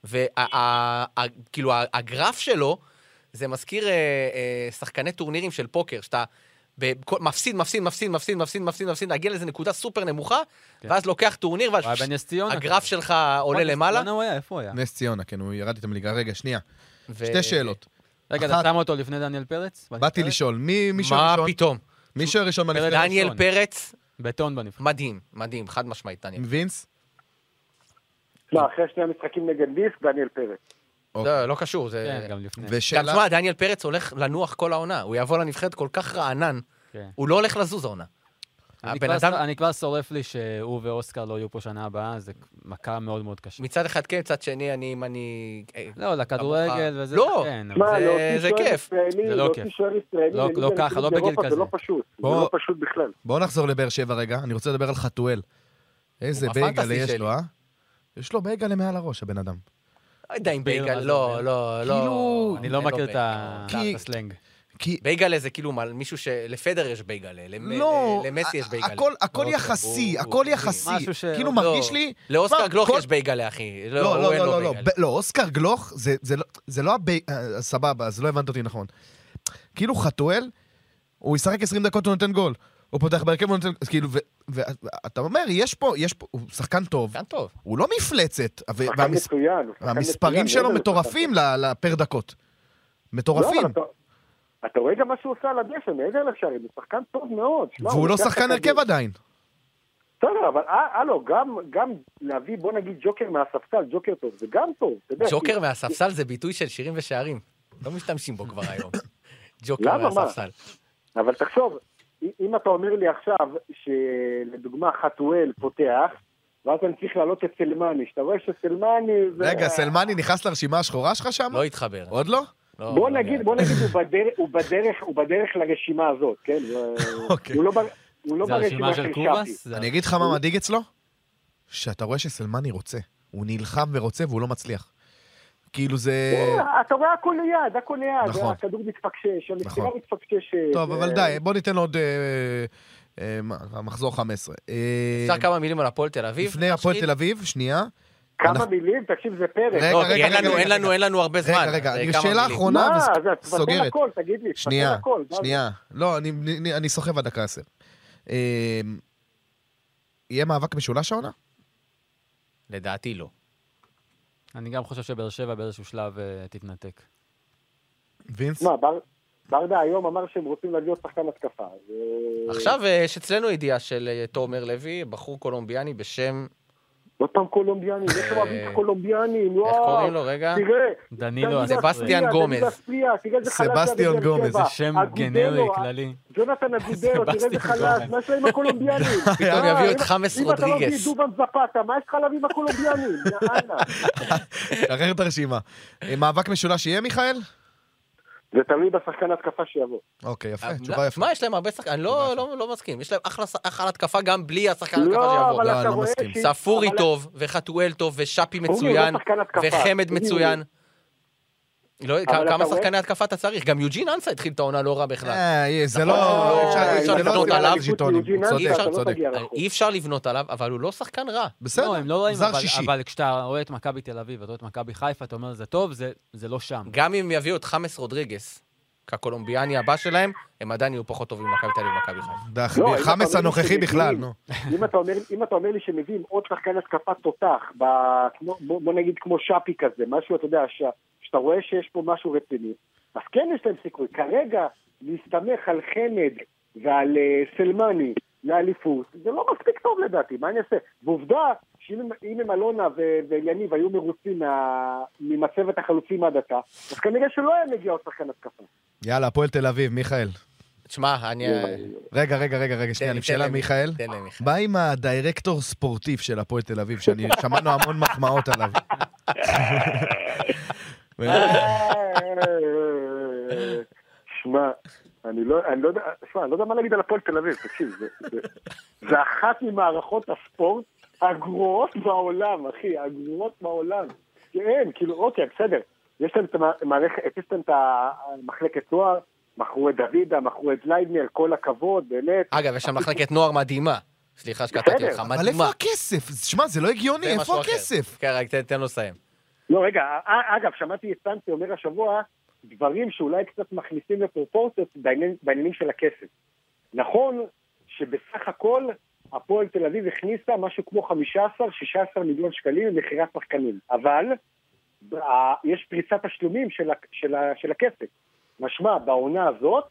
וכאילו, כאילו, הגרף שלו, זה מזכיר אה, אה, שחקני טורנירים של פוקר, שאתה בכל- מפסיד, מפסיד, מפסיד, מפסיד, מפסיד, מפסיד, מפסיד, להגיע לאיזה נקודה סופר נמוכה, כן. ואז לוקח טורניר, ואז הוא היה בנס ציונה. הגרף שלך עולה נכון, למעלה. בואנה, הוא היה, איפה הוא היה? נס ציונה, כן, הוא ירד איתם ליגה. רגע, שנייה. ו- שתי שאלות. רגע, אחת. אתה שם אותו לפני דניאל פרץ? באתי בנבחרת? לשאול, מי מי שוער מה ראשון? פתאום? מי שוער ראשון בנבחרת? דניאל ראשון. פרץ, בטון בנבחרת. מדהים, מדהים, חד משמעית, דניאל. וינס? לא, אחרי שני המשחקים נגד ליס, דניאל פרץ. אוקיי. לא, לא קשור, זה... כן, גם לפני. גם ושאלה... תשמע, דניאל פרץ הולך לנוח כל העונה, הוא יבוא לנבחרת כל כך רענן, כן. הוא לא הולך לזוז העונה. אני הבן כבר- אדם- אני כבר שורף לי שהוא ואוסקר לא יהיו פה שנה הבאה, זה מכה מאוד מאוד קשה. מצד אחד כן, מצד שני, אני... אם אני... אה, לא, לכדורגל וזה... לא. כן, אבל- שמע, זה- להוציא זה שוער כיף. ישראלי, זה לא להוציא כיף. שוער ישראלי לא- בליגה לא ככה, לאליפות לא בגיל אירופה כזה. זה לא פשוט, זה בוא- לא פשוט בכלל. בואו נחזור לבאר שבע רגע, אני רוצה לדבר על חתואל. איזה הוא בייגלה בפנטזי יש שלי. לו, אה? יש לו בייגלה מעל הראש, הבן אדם. לא יודע אם תסביר בייגל, מה זה לא, אומר. לא, לא. כאילו- אני לא זה מכיר את ה- בייגלה. כי- את הסלנג. כי... בייגלה זה כאילו מה- מישהו ש... לפדר יש בייגלה, למ- לא, אה, למסי יש ה- בייגלה. הכל- הכל לא, יחסי, הוא- הכל הוא- יחסי. משהו ש- כאילו לא, מרגיש לי... לאוסקר שמע, גלוך כל- יש בייגלה, אחי. לא, הוא לא, אין לא, לו לא, לא, בייגלה. ב- לא, אוסקר גלוך זה- זה לא- זה לא הבי... אה, סבבה, אז לא הבנת אותי נכון. כאילו חתואל, הוא ישחק 20 דקות, הוא נותן גול. הוא פותח בהרכב, הוא נותן... אז כאילו, ואתה אומר, יש פה, יש פה, הוא שחקן טוב, כאן טוב. הוא לא מפלצת, ו- שחקן והמס- מצוין, הוא שחקן המספרים מצוין, שלו מעבר מטורפים ל- ל- פר דקות. לשחקן. מטורפים. לא, אבל אתה- אתה רואה גם מה שהוא עושה על הדשא, מעבר לשערים, הוא שחקן טוב מאוד. שמע, והוא הוא לא לוקח את שחקן הכדור. הרכב עדיין. בסדר, אבל אה, הלו, גם- גם להביא, בוא נגיד, ג'וקר מהספסל, ג'וקר טוב, זה גם טוב. אתה יודע, ג'וקר כי- מהספסל זה ביטוי של שירים ושערים. לא משתמשים בו כבר היום. ג'וקר למה? מה? מהספסל. אבל תחשוב, אם אתה אומר לי עכשיו שלדוגמה חתואל פותח, ואז אני צריך להעלות את סלמני, שאתה רואה שסלמני... זה- רגע, סלמני נכנס לרשימה השחורה שלך שם? לא התחבר. עוד לא? לא, בוא לא נגיד, נראה. בוא נגיד, הוא בדרך- הוא בדרך, הוא בדרך לרשימה הזאת, כן? אוקיי. הוא לא ב- הוא לא זה ברשימה הרשימה של של שפי. קובאס? זה- אני אגיד לך מה מדאיג אצלו? שאתה רואה שסלמני רוצה. הוא נלחם ורוצה והוא לא מצליח. כאילו זה... אה, אתה רואה הכל ליד, הכל ליד. נכון. הכדור מתפקשש, המסירה נכון. מתפקששת. טוב, אבל אה, די, בוא ניתן לו עוד... אה, אה, מה, מחזור 15. אה, אפשר כמה מילים על הפועל תל אביב? לפני הפועל נשחיל? תל אביב, שנייה. כמה אנחנו- מילים, תקשיב, זה פרק. רגע, לא, כי רגע, אין רגע, לנו- רגע, אין לנו, אין לנו הרבה זמן. רגע, רגע, אז, אני- אה, כמה שאלה מילים. אחרונה. עונה מה, וס- זה, תבטל סוגרת. הכל, תגיד לי, תבטל שנייה, הכל. מה זה? שנייה. לא, אני- אני- אני סוחב עד דקה עשר. אה, יהיה מאבק משולש העונה? לדעתי לא. אני גם חושב שבאר שבע באיזשהו שלב אה, תתנתק. וינס? מה, בר- ברדה היום אמר שהם רוצים להביא עוד שחקן התקפה. אז, אה, עכשיו אה, יש אצלנו ידיעה של אה, תומר לוי, בחור קולומביאני בשם עוד פעם קולומביאנים, איך הם אוהבים את הקולומביאנים, אה, איך וואו, קוראים לו רגע? לא, תראה. דנילו, דניאל סבסטיאן אספריה, דניאל גומז. אספריה, תראה איזה חלש סבסטיאן זה בבאר גומז, שבע. זה שם אגודלו, אה? גנרי כללי. ג'ונתן אגודלו, תראה איזה סבסטיאן חלש, גומז. מה יש להם עם הקולומביאנים? אה, פתאום יביאו את אם- חמאס אם אתה לא מביא רודריגס. דובן זפתה, מה יש לך להביא עם הקולומביאנים? יאללה. אחר את הרשימה. אה, מאבק משולש יהיה, מיכאל? זה תלוי בשחקן התקפה שיבוא. אוקיי, יפה, אה, תשובה יפה. מה, יש להם הרבה שחקנים, אני לא- לא לא מסכים. יש להם אחלה ש- אחלה התקפה גם בלי השחקן התקפה לא, שיבוא. אבל לא, אתה לא רואה מסכים. ש- ספורי אבל- טוב, וחתואל טוב, ושאפי הוא מצוין, לא שחקן התקפה. וחמד הוא- מצוין. לא, אבל כ- אתה כמה רואה- שחקני התקפה אתה צריך? גם יוג'ין אנסה התחיל את העונה לא רע בכלל. אה, אה, זה לא... לא, אפשר- אי אפשר זה לא לבנות סיבה עליו. לג'יטונים. יוג'ין צודק, אנסה, אתה לא צודק. תגיע. אה, אי אפשר לבנות עליו, אבל הוא לא שחקן רע. בסדר, לא, הם לא רואים, זר אבל- שישי. אבל כשאתה רואה את מכבי תל אביב, אתה רואה את מכבי חיפה, אתה אומר, זה טוב, זה- זה לא שם. גם אם יביאו את חמאס רודריגס, כקולומביאני הבא שלהם, הם עדיין יהיו פחות טובים ממכבי תל אביב ומכבי חיפה. דח, לא, אם חמאס אתה אומר הנוכחי שמביאים- בכלל, נו. אם אתה אומר- אם אתה אומר לי שמביאים עוד שחקן התקפה תותח, ב- כמו- בוא בוא נגיד כמו שפי כזה, משהו, אתה יודע, ש- שאתה רואה שיש פה משהו רציני, אז כן יש להם סיכוי. כרגע, להסתמך על חמד ועל אה, סלמני לאליפות, זה לא מספיק טוב לדעתי, מה אני אעשה? ועובדה, שאם הם- אם הם אלונה ו- ויניב היו מרוצים מה- ממצבת החלוצים עד עתה, אז כנראה שלא היה מגיע עוד שחקן התקפה. יאללה, הפועל תל אביב, מיכאל. תשמע, אני... רגע, רגע, רגע, רגע, אה, שנייה, לי, אני תן שאלה, לי, מיכאל. תן לי, מיכאל. בא עם הדירקטור ספורטיב של הפועל תל אביב, שאני, שמענו המון מחמאות עליו. שמע, אני לא אני לא יודע, שמע, אני לא יודע מה להגיד על הפועל תל אביב, תקשיב, זה- זה- זה אחת ממערכות הספורט הגרועות בעולם, אחי, הגרועות בעולם. כן, כאילו, אוקיי, בסדר. יש להם את המערכת, יש להם את המחלקת תואר, מכרו את דוידה, מכרו את ליידנר, כל הכבוד, באמת. אגב, יש שם מחלקת נוער מדהימה. סליחה שקטעתי בסדר, אותך, אבל איפה מדהימה. הכסף? שמע, זה לא הגיוני, זה משהו איפה אחר. הכסף? כן, רק תן- תן לו לסיים. לא, רגע, א- אגב, שמעתי את סנטי אומר השבוע דברים שאולי קצת מכניסים לפרופורציות בעניין- בעניינים של הכסף. נכון שבסך הכל הפועל תל אביב הכניסה משהו כמו 15-16 מיליון שקלים למכירת שחקנים, אבל ה- יש פריסת תשלומים של, ה- של, ה- של הכסף. משמע, בעונה הזאת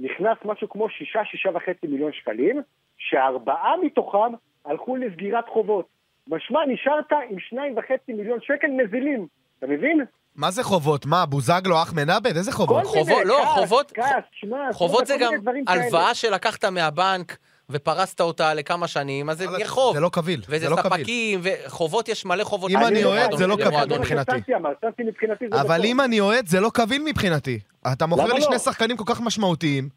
נכנס משהו כמו 6-6.5 מיליון שקלים, שארבעה מתוכם הלכו לסגירת חובות. משמע, נשארת עם 2.5 מיליון שקל נזילים, אתה מבין? מה זה חובות? מה, בוזגלו, אחמד עבד? איזה כל חובות? מיני, חובות- לא, כעס, חובות- כעס, שמע, חובות זה כל גם מיני דברים כאלה. הלוואה שלקחת מהבנק ופרסת אותה לכמה שנים, אז זה נהיה חוב. זה לא קביל, וזה זה לא קביל. ספקים, וחובות, יש מלא חובות. אם של אני אוהד, מועדון- זה לא של קביל זה מועדונים. מה מבחינתי. שסנסי אמר, סנסי מבחינתי זה אבל בסוף. אם אני אוהד, זה לא קביל מבחינתי. אתה מוכר לא למה לי לא? שני שחקנים כל כך משמעותיים,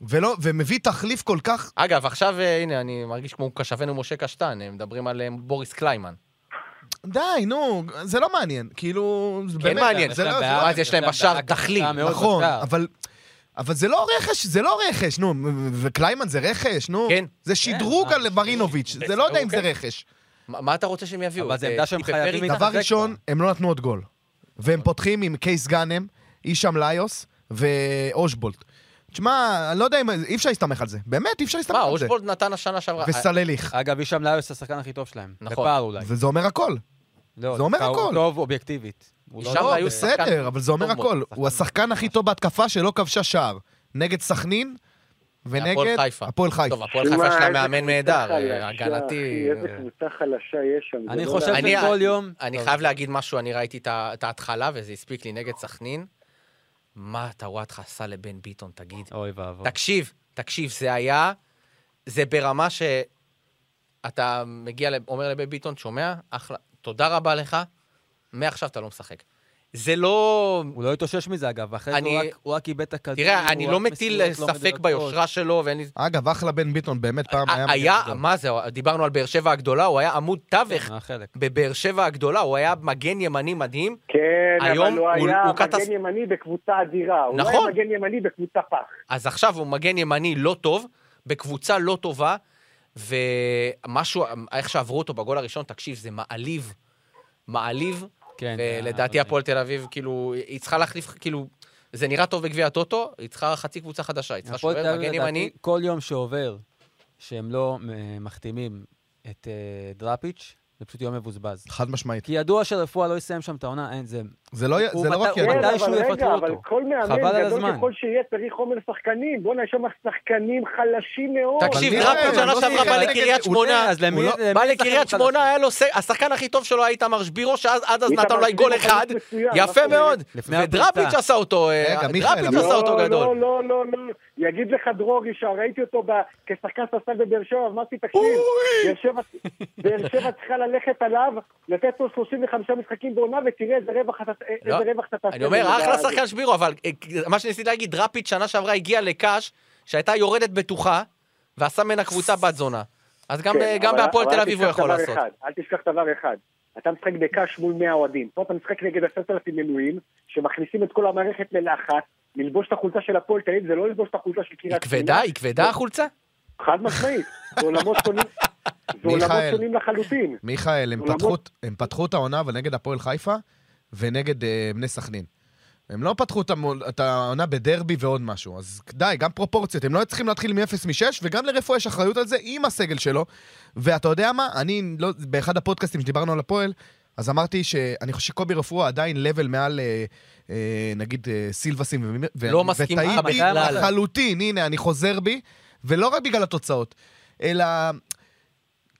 ולא- ומביא תחליף כל כך... אגב, עכשיו, אה, הנה, אני מרגיש כמו קשבנו משה קשטן, הם מדברים על אה, בוריס קליימן. די, נו, זה לא מעניין. כאילו, זה באמת... כן מעניין. זה לא- זה לא- בעיה. אז יש להם בשער תכלית. מאוד נכון, בשער. אבל... אבל זה לא רכש, זה לא רכש, נו, וקליימן זה רכש, נו. כן. זה שדרוג אה, על מרינוביץ', זה לא יודע אם זה אוקיי. רכש. מה מה אתה רוצה שהם יביאו? אבל זה את, עמדה אה, שהם טיפה חייבים פרי? להתאחד. דבר מתחזק ראשון, כבר. הם לא נתנו עוד גול. והם פותחים עם קייס גאנם, הישאם ליוס ואושבולט. תשמע, אני לא יודע אם... אי אפשר להסתמך על זה. באמת, אי אפשר להסתמך מה, על זה. אושבולד נתן השנה שעברה... אה, וסלליך. אגב, הישאם לאיוס השחקן הכי טוב שלהם. נכון. בפער אולי. וזה אומר הכל. לא, זה אומר דווקא הכל. הוא טוב אובייקטיבית. הוא לא הישאם טוב. לאיוס- שחקן בסדר, אבל זה אומר טוב מאוד, הכל. שחקן הוא השחקן הכי טוב בהתקפה שלא כבשה שער. נגד סכנין אה, הפועל ונגד... חיפה. הפועל חיפה. טוב, הפועל שמע, חיפה יש לה איזה מאמן קבוצה נהדר, חלשה, אה, הגנתי. אה, אחי, איזה קבוצה חלשה יש שם. זה אני לא חושב להאמין. אני- שכל יום... אני טוב. חייב להגיד משהו, אני ראיתי את ה- את ההתחלה, וזה הספיק לי נגד סכנין. מה טוואטחה עשה לבן ביטון, תגיד? אוי ואבוי. תקשיב, תקשיב, זה היה... זה ברמה שאתה מגיע, ל- אומר לבן ביטון, שומע? אחלה, תודה רבה לך, מעכשיו אתה לא משחק. זה לא... הוא לא התאושש מזה, אגב, אחרי זה אני- הוא רק- הוא רק איבד את הכדור. תראה, הוא אני רק לא מטיל מסירות לא ספק מדויקות. ביושרה שלו, ואין לי... אגב, אחלה בן ביטון, באמת פעם היה... היה, מגן גדול. מה זה, דיברנו על באר שבע הגדולה, הוא היה עמוד תווך כן, מה החלק? בבאר שבע הגדולה, הוא היה מגן ימני מדהים. כן, היום אבל הוא הוא- היה הוא קטס- מגן ימני בקבוצה אדירה. הוא לא היה נכון. מגן ימני בקבוצה פח. אז עכשיו הוא מגן ימני לא טוב, בקבוצה לא טובה, ומשהו, איך שעברו אותו בגול הראשון, תקשיב, זה מעליב. מעליב. כן, זה ולדעתי היה- הפועל תל אביב, כאילו, היא צריכה להחליף, כאילו, זה נראה טוב בגביע הטוטו, היא צריכה חצי קבוצה חדשה, היא צריכה הפועל תל שוער, אביב, מגן לדעתי, ימני. כל יום שעובר שהם לא אה, מחתימים את אה, דראפיץ', זה פשוט יום מבוזבז. חד משמעית. כי ידוע שרפואה לא יסיים שם את העונה, אין, זה... זה לא, הוא זה לא מתי- רק הוא כן, ידע. מתי- מתישהו כן, אבל יפטרו רגע, אותו. אבל כל מאמן חבל על גדול הזמן. ככל שיהיה צריך חומר שחקנים. בואנה, יש שם שחקנים חלשים מאוד. תקשיב, אבל מיכאל, דראפיץ' שנה לא שעברה בא שיחק לקריית נגד- שמונה, אז למי... הוא לא- למי בא זה לקריית שחקן שמונה, חלש? היה לו... ס- השחקן הכי טוב שלו היה איתמר שבירו, שאז עד אז נתן אולי גול איתמר אחד. שבירו מצוין, יפה מה קורה? מאוד. לפני ודראפיץ' הפריצה. עשה אותו, אה, רגע, מיכאל, דראפיץ' אבל- עשה אותו לא, גדול. לא, לא, לא. יגיד לך דרוגי, שראיתי אותו ב- כשחקן ספסל בבאר שבע, אמרתי, תקשיב, באר שבע- באר שבע צריכה ללכת עליו, לתת לו 35 משחקים בעונה, ותראה איזה רווח אתה לא. איזה רווח אתה תעשה. אני אומר, ממנו אחלה בעד." שחקן שבירו, אבל אה, מה שניסיתי להגיד, דראפיץ' שנה שעברה הגיע לקאש, שהייתה יורדת בטוחה, ועשה ממנה קבוצה בת זונה. אז גם כן, ב- גם אבל- בהפועל אבל תל אל אביב הוא תשכח יכול דבר לעשות. אחד, אל תשכח דבר אחד, אתה משחק בקאש מול 100 אוהדים, פה אתה משחק נגד 10,000 מנויים, שמכניסים את כל המערכת ללחץ, ללבוש את החולצה של הפועל תל אביב זה לא ללבוש את החולצה של היא קריית כבדה, היא כבדה החולצה? חד משמעית, זה עולמות שונים- זה עולמות מיכאל. שונים לחלוטין. מיכאל, הם עולמות- פתחו, הם פתחו את העונה, אבל נגד הפועל חיפה ונגד אה, בני סכנין. הם לא פתחו את המו- את העונה בדרבי ועוד משהו, אז די, גם פרופורציות. הם לא היו צריכים להתחיל מ-0 מ-6, וגם לרפואה יש אחריות על זה עם הסגל שלו. ואתה יודע מה, אני, לא, באחד הפודקאסטים שדיברנו על הפועל, אז אמרתי שאני חושב שקובי רפואה עדיין לבל מעל, אה, אה, נגיד, אה, סילבסים. ו- ו- לא מסכים איתך וטעיתי בכלל. לחלוטין, הנה, אני חוזר בי, ולא רק בגלל התוצאות, אלא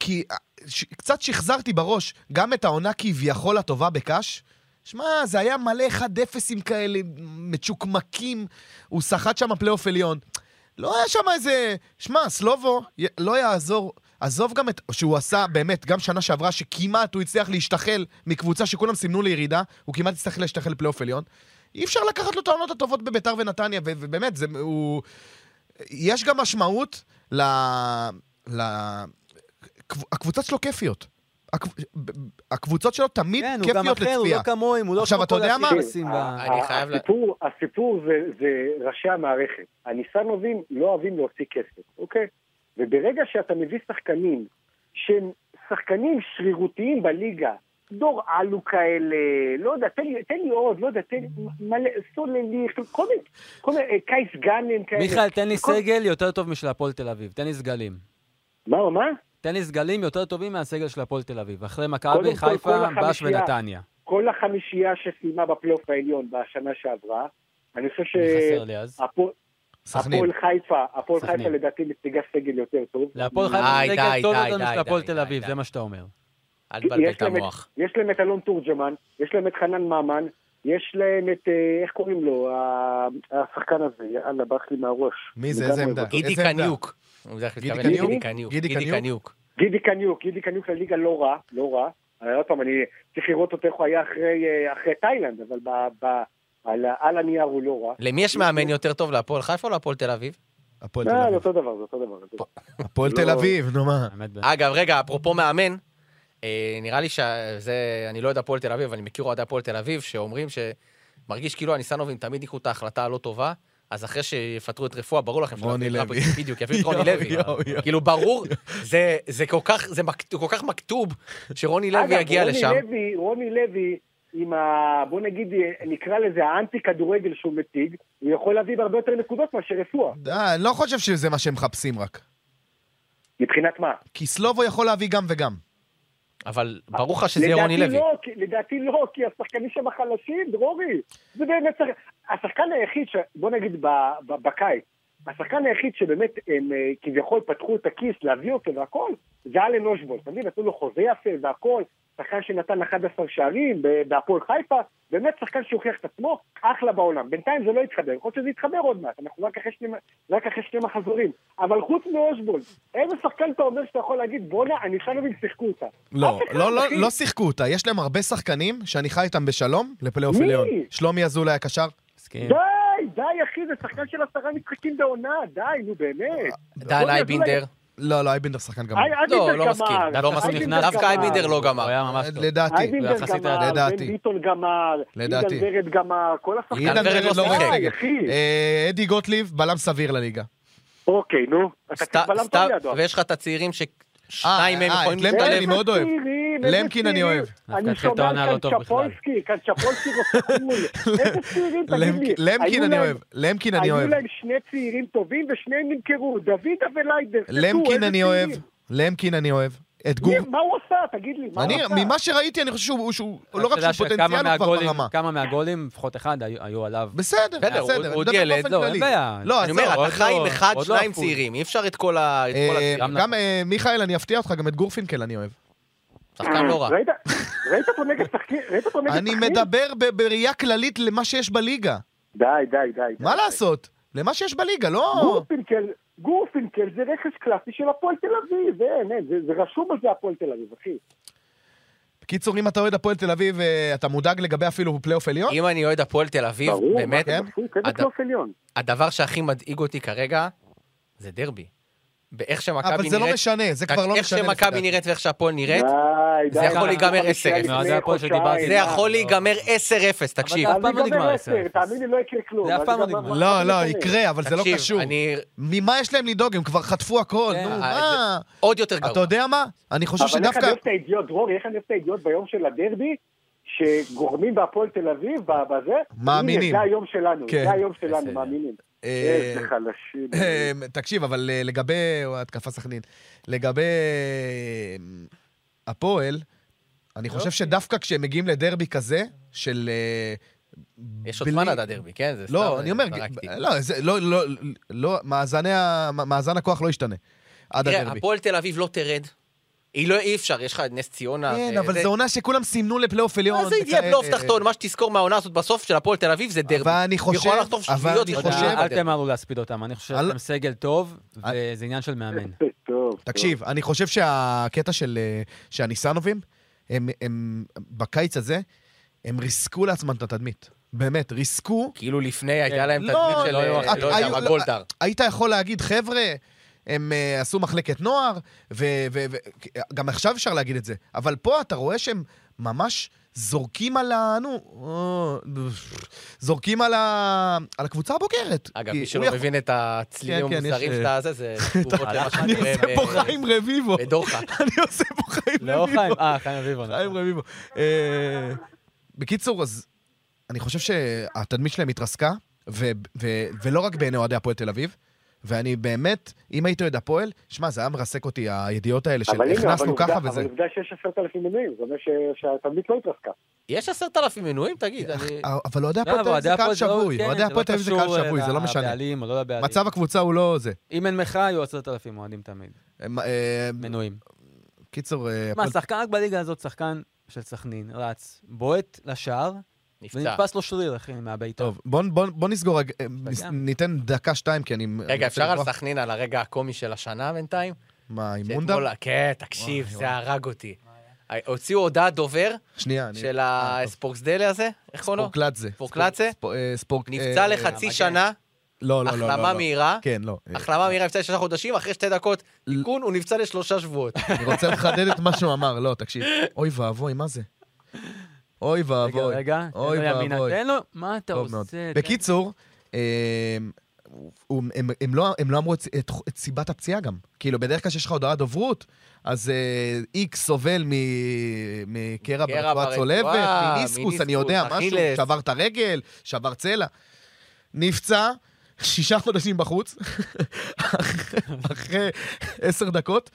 כי אה, ש... קצת שחזרתי בראש גם את העונה כביכול הטובה בקאש. שמע, זה היה מלא 1-0 עם כאלה מצ'וקמקים, הוא סחט שם פלייאוף עליון. לא היה שם איזה... שמע, סלובו י- לא יעזור. עזוב גם את... שהוא עשה, באמת, גם שנה שעברה, שכמעט הוא הצליח להשתחל מקבוצה שכולם סימנו לירידה, הוא כמעט הצליח להשתחל לפלייאוף עליון. אי אפשר לקחת לו את העונות הטובות בביתר ונתניה, ו- ובאמת, זה... הוא... יש גם משמעות ל... ל... הקב- הקבוצות שלו כיפיות. הקב- ב- ב- הקבוצות שלו תמיד כן, הוא גם כיפיות אחר, הוא לא לצפייה. כמוהם, הוא לא עכשיו, כמו אתה כל יודע מה? הסיפורים ב- אה, אני חייב ל- כן. הסיפור, הסיפור זה, זה ראשי המערכת. הניסנובים לא אוהבים להוציא כסף, אוקיי? וברגע שאתה מביא שחקנים שהם שחקנים שרירותיים בליגה, דור אלו כאלה, לא יודע, תן לי, תן לי עוד, לא יודע, תן לי מלא, סולליך, כל מיני, כל מיני, אה, קייס גאנם כאלה. אה, מיכאל, תן לי כל- סגל יותר טוב משל הפועל תל אביב. תן לי סגלים. מה, מה? תן לי סגלים יותר טובים מהסגל של הפועל תל אביב. אחרי קודם מכבי, כל, חיפה, כל בש החמישייה. ונתניה. כל החמישייה שסיימה בפלייאוף העליון בשנה שעברה, אני חושב ש... מי חסר לי אז? הפועל- סכנין. הפועל חיפה, הפועל סכנין. חיפה לדעתי מציגה סגל יותר טוב. להפועל די, חיפה די, סגל טוב די, יותר די, משל הפועל די, תל די, אביב, די. זה מה שאתה אומר. אל תבלבל יש את להם המוח. יש להם את אלון תורג'מן, יש להם את חנן ממן, יש להם את, אה, איך קוראים לו, ה- השחקן הזה, יאללה, ברח לי מהראש. לא מי זה? לגמרי איזה עמדה? אותו. גידי איזה עמדה? קניוק. הוא בדרך כלל גידי מתכוון לגידי קניוק? קניוק. גידי גידי קניוק? קניוק. גידי קניוק, גידי קניוק לליגה לא רע, לא רע. אה, עוד פעם, אני צריך לראות אותו איך הוא היה אחרי, אה, אחרי תאילנד, אבל ב, ב, על, ה- על הנייר הוא לא רע. למי יש מאמן יותר טוב, להפועל חיפה או להפועל תל אביב? הפועל לא, תל זה אביב. אותו דבר, זה אותו דבר. זה אותו דבר. הפועל לא- תל אביב, נו מה. האמת, ב- אגב, רגע, אפרופו מאמן, אה, נראה לי שזה, אני לא יודע הפועל תל אביב, אבל אני מכיר אוהדי הפועל תל אביב, שאומרים שמרגיש כאילו הניסנובים תמיד ייקחו את ההחלטה הלא טובה, אז אחרי שיפטרו את רפואה, ברור לכם שלא רוני יביאו את לוי. רפי- בדיוק, יביאו את רוני יואו, לוי. יואו, יואו. כאילו, ברור, זה- זה כל כך- זה מכת- כל כך מכתוב שרוני לוי אגב, יגיע רוני לשם. לוי, רוני לוי, עם ה... בוא נגיד, נקרא לזה האנטי כדורגל שהוא מציג, הוא יכול להביא בהרבה יותר נקודות מאשר רפואה. אה, אני לא חושב שזה מה שהם מחפשים רק. מבחינת מה? כי סלובו יכול להביא גם וגם. אבל ברור לך שזה יהיה רוני לדעתי לוי. לא, כי- לדעתי לא, כי השחקנים שם חלשים, דרורי. זה באמת צריך... השחקן היחיד, ש... בוא נגיד ב... ב... בקיץ, השחקן היחיד שבאמת הם אה, כביכול פתחו את הכיס להביא אותו והכל, זה אלן אושבולט. אתה מבין, נתנו לו חוזה יפה והכל, שחקן שנתן 11 שערים ב- בהפועל חיפה, באמת שחקן שהוכיח את עצמו, אחלה בעולם. בינתיים זה לא התחבר, יכול להיות שזה יתחבר עוד מעט, אנחנו רק אחרי שני, רק אחרי שני מחזורים. אבל חוץ מאושבולט, איזה שחקן אתה אומר שאתה יכול להגיד, בואנה, הניסנובים שיחקו אותה. לא, אף אחד, לא, לא, אחי. לא שיחקו אותה. יש להם הרבה שחקנים שאני חי איתם בשלום לפלייאוף מי? עליון. שלומי אזולאי הקשר. מסכים. כן. לא- די, די, אחי, זה שחקן של עשרה משחקים בעונה, די, נו באמת. דן אייבינדר. לא, לא, אייבינדר שחקן גמור. אי- אה, אייבינדר לא, לא גמר, מסכים. לא אייבינדר מסכים. גמר. דווקא אייבינדר לא הוא גמר. היה אה, ממש טוב. לדעתי. אייבינדר יחסית גמר, בן לדעתי. ביטון גמר, לדעתי. עידן ורד גמר, כל השחקנים. אילן ורד ורד לא לא שיחק. די, משחק. אחי. אה, אדי גוטליב, בלם סביר לליגה. אוקיי, נו. אתה סת- צריך בלם סתיו- טוב לידו. ויש לך את הצעירים ששניים אה, מהם אה, יכולים את למקין להתעלם. אני מאוד אוהב. איזה צעירים, איזה למקין אני צעירים. אוהב. דווקא אני התחיל את שומע העונה על לא טוב בכלל. קנצ'פולסקי, קנצ'פולסקי רופאים. איזה צעירים, תגיד למק- לי. למקין היו אני להם- אוהב. למקין אני היו אוהב. להם שני צעירים טובים ושניהם נמכרו, דוידה וליידר. תדעו, למקין איזה אני צעירים. אוהב, למקין אני אוהב. את גור... מי- מה הוא עשה? תגיד לי, מה הוא אני, עשה? ממה שראיתי, אני חושב שהוא, שהוא לא רק אתה יודע שהוא שכמה פוטנציאל, הוא כבר מהגולים- ברמה. כמה מהגולים, לפחות אחד, היו היו עליו. בסדר, בסדר, הוא- בסדר. הוא עוד אני מדבר ילד, באופן לא, אין כללי. בעיה. לא, אני אז אומר, זהו, אתה עוד חי עם לא- אחד, עוד לא שניים הפוך. צעירים, אי אפשר את כל נכון. ה... את כל אה, הצעירים. גם גם אה, מיכאל, אני אפתיע אותך, גם את גורפינקל אני אוהב. אה, שחקן לא רע. ראית, ראית אותו נגד שחקנים? ראית אותו נגד אני שחקנים? מדבר ב- בראייה כללית למה שיש בליגה. די, די, די. מה די. לעשות? למה שיש בליגה, לא... גורפינקל, גורפינקל זה רכש קלאסי של הפועל תל אביב, אין, אין, זה, זה רשום על זה הפועל תל אביב, אחי. בקיצור, אם אתה אוהד הפועל תל אביב, אה, אתה מודאג לגבי אפילו פלייאוף עליון? אם אני אוהד הפועל תל אביב, ברור, באמת, כן. מה זה מצחיק? איזה הד- פלייאוף לא עליון. הדבר שהכי מדאיג אותי כרגע זה דרבי. באיך שמכבי נראית... אבל זה לא משנה, זה כבר לא איך משנה. לפי שמכבי דעתי. נראית ואיך שהפועל כן? נראית, די, זה די. יכול אנחנו להיגמר חמישייה 10. לפני זה הפועל חודשיים. אה. שדיברתי. זה יכול לא. להיגמר 10-0, תקשיב. אף אז פעם לא ייגמר נגמר 10, 10. תאמין לי, לא יקרה כלום. זה אף אז פעם לא גם- נגמר. לא, לא, יקרה, אבל זה לא תקשיב, קשור. אני... ממה יש להם לדאוג? הם כבר חטפו הכל, כן, נו, אה, מה? עוד יותר גרוע. אתה יודע מה? אני חושב אבל איך אני שדווקא... אוהב את הידיעות, דרורי, איך אני אוהב את הידיעות ביום של הדרבי, שגורמים בהפועל תל אביב, ב- בזה, מאמינים. הנה, זה היום שלנו, כן. זה היום שלנו, בסדר. מאמינים. אה, איזה חלשים. אמ, תקשיב, אבל אה, לגבי, או, התקפה סכנין, לגבי אמ, הפועל, אני חושב שדווקא כשהם מגיעים לדרבי כזה, של... אה, יש עוד בלי- זמן עד הדרבי, כן? זה לא, סתם, אני אומר, זרקתי. לא, זה- לא, לא, לא, מאזני ה- מאזן הכוח לא ישתנה. עד תראה, הדרבי. הפועל תל אביב לא תרד. היא לא, אי אפשר, יש לך את נס ציונה. כן, אה, אבל זה- זו עונה שכולם סימנו לפלייאוף עליון. מה זה יהיה וכאלה. אה, פלייאוף תחתון? מה שתזכור מהעונה הזאת בסוף של הפועל תל אביב זה דרבי. אבל אני חושב- היא יכולה לחטוף אבל שביעיות, אני היא אתה יודע, חושב- יכולה- אל תמהרו להספיד אותם, אני חושב אל- שאתם סגל טוב, אל- וזה עניין של מאמן. טוב, טוב. תקשיב, אני חושב שהקטע של אה, שהניסנובים, הם, הם בקיץ הזה, הם ריסקו לעצמם את התדמית. באמת, ריסקו. כאילו לפני הייתה להם לא, תדמית של, לא, אה, לא, לא יודע, היו- מה, לא, גולדהר. היית יכול להגיד, חבר'ה, הם אה, עשו מחלקת נוער, וגם עכשיו אפשר להגיד את זה, אבל פה אתה רואה שהם ממש זורקים על ה... נו, אה, זורקים על, ה, על הקבוצה הבוגרת. אגב, כי מי הוא שלא יכול- מבין את הצלילים כן, כן, יש, המוזרים אה, שאתה זה, זה תגובות למה הלך, שאני אני עושה פה אה, חיים רביבו. בדוחה. אני עושה פה חיים לא רביבו. חיים, אה, חיים רביבו. נכון. חיים רביבו. אה, בקיצור, אז אני חושב שהתדמית שלהם התרסקה, ו- ו- ולא רק בעיני אוהדי הפועל תל אביב. ואני באמת, אם הייתי אוהד הפועל, שמע, זה היה מרסק אותי, הידיעות האלה של אבל הנה, אבל הכנסנו עובדה- ככה וזה. אבל עובדה שיש עשרת אלפים מנויים, זאת אומרת ש- שהתדמית לא התרסקה. יש עשרת אלפים מנויים? תגיד, אני... אה, אבל אוהדי לא, הפועל תל אבל אביב זה קהל הפועל לא- שבוי, כן, אוהדי זה הפועל תל אביב זה קהל קשור, שבוי, אה, זה לא משנה. לבעלים או לא לבעלים. מצב הקבוצה הוא לא זה. אם אין מחאה, יהיו עשרת אלפים אוהדים תמיד, הם, אה, מנויים. קיצור, אה, מה, הפועל- שחקן רק בליגה הזאת, שחקן של סכנין, רץ, בועט לשער, נפצע. ונתפס לו שריר, אחי, מהבעיטה. טוב, בוא- בוא בוא נסגור, אה, נס- גם. ניתן דקה-שתיים, כי אני... רגע, רוצה אפשר על לברוח. סכנין, על הרגע הקומי של השנה בינתיים? מה, עם שאתמול- מונדר? כן, תקשיב, וואי, זה הרג אותי. אה, הוציאו הודעת דובר שנייה, אני... של אה, טוב. הספורקסדלה הזה, איך קוראים לו? ספורקלאצה. ספורקלאצה? ספורק- אה, ספורק... לא. נפצע אה, לחצי המגן. שנה, לא, לא, לא, לא. החלמה לא. מהירה. כן, לא. אה, החלמה מהירה נפצע לשלושה חודשים, אחרי שתי דקות תיקון, הוא נפצע לשלושה שבועות. אני רוצה לחדד את מה שהוא אמר, לא, תקשיב. אוי ואבוי, מה זה? אוי רגע, ואבוי. רגע, לא אוי תן לו ימינה, ואבוי. תן לו, מה אתה טוב עושה? מאוד. כן. תן- בקיצור, אה, הוא- הם- הם לא- הם לא אמרו את- את את סיבת הפציעה גם. כאילו, בדרך כלל כשיש לך הודעת דוברות, אז אה, איקס סובל מ- קרע מקרע ברצועה ברצועה, צולבת, מניסקוס, אני יודע, מניסקוס, משהו, אכילס. שבר את הרגל, שבר צלע. נפצע, שישה חודשים בחוץ, אחרי עשר דקות.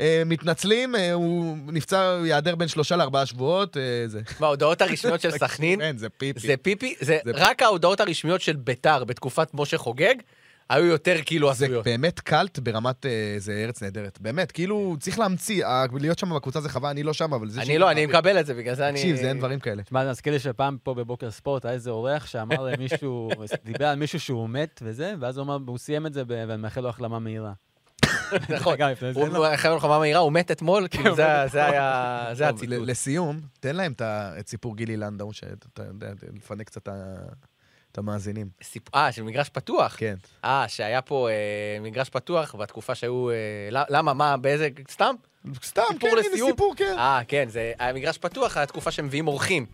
אה, מתנצלים, אה, הוא נפצע, הוא ייעדר בין שלושה לארבעה שבועות, אה, זה. וההודעות הרשמיות של סכנין, אין, כן, זה פיפי. זה פיפי, זה זה- רק ההודעות הרשמיות של ביתר בתקופת משה חוגג, היו יותר כאילו זה הזויות. באמת קלט ברמת אה, זה ארץ נהדרת. באמת, כאילו, צריך להמציא, ה- להיות שם בקבוצה זה חווה, אני לא שם, אבל זה... אני שהיא- לא, אני מקבל את זה, בגלל זה אני... תקשיב, זה אין דברים כאלה. תשמע, זה מזכיר לי שפעם פה בבוקר ספורט היה איזה אורח שאמר למישהו, דיבר על מישהו שהוא מת וזה, ואז הוא אמר, הוא סיים את זה, ב- ואני מאחל לו החלמה מהירה. נכון. רגע, לפני זה, הוא לא. הוא- אחרי מלחמה מהירה, הוא מת אתמול, כאילו זה ה- זה היה... זה טוב, הציטוט. ל- לסיום, תן להם את ה- את סיפור גילי לנדאו, שאתה יודע, לפנה קצת את ה- את המאזינים. סיפ- אה, של מגרש פתוח. כן. אה, שהיה פה אה, מגרש פתוח בתקופה שהיו... אה, ל- למה, מה, באיזה... סתם? סתם, כן, סיפור הנה לסיום? סיפור, כן. אה, כן, זה היה מגרש פתוח, היה תקופה שמביאים אורחים.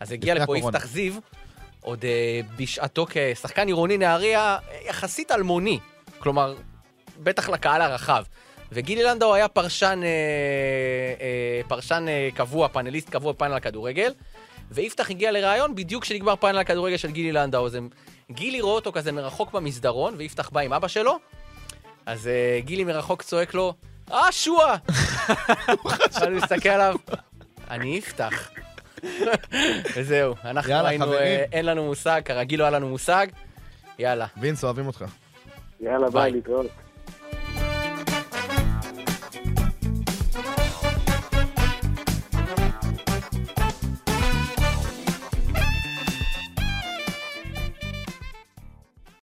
אז הגיע לפני לפה הקורונה. יפתח זיו, עוד אה, בשעתו כשחקן עירוני נהריה, אה, יחסית אלמוני. כלומר, בטח לקהל הרחב. וגילי לנדאו היה פרשן, אה, אה, פרשן אה, קבוע, פאנליסט קבוע בפאנל הכדורגל, ויפתח הגיע לראיון בדיוק כשנגמר פאנל הכדורגל של גילי לנדאו. אז הם, גילי רואה אותו כזה מרחוק במסדרון, ויפתח בא עם אבא שלו, אז אה, גילי מרחוק צועק לו, אה, שועה! אני מסתכל עליו, אני אפתח. וזהו, אנחנו יאללה, היינו, חברים. אה, אין לנו מושג, כרגיל לא היה לנו מושג. יאללה. וינס, אוהבים אותך. יאללה, ביי. ביי, להתראות.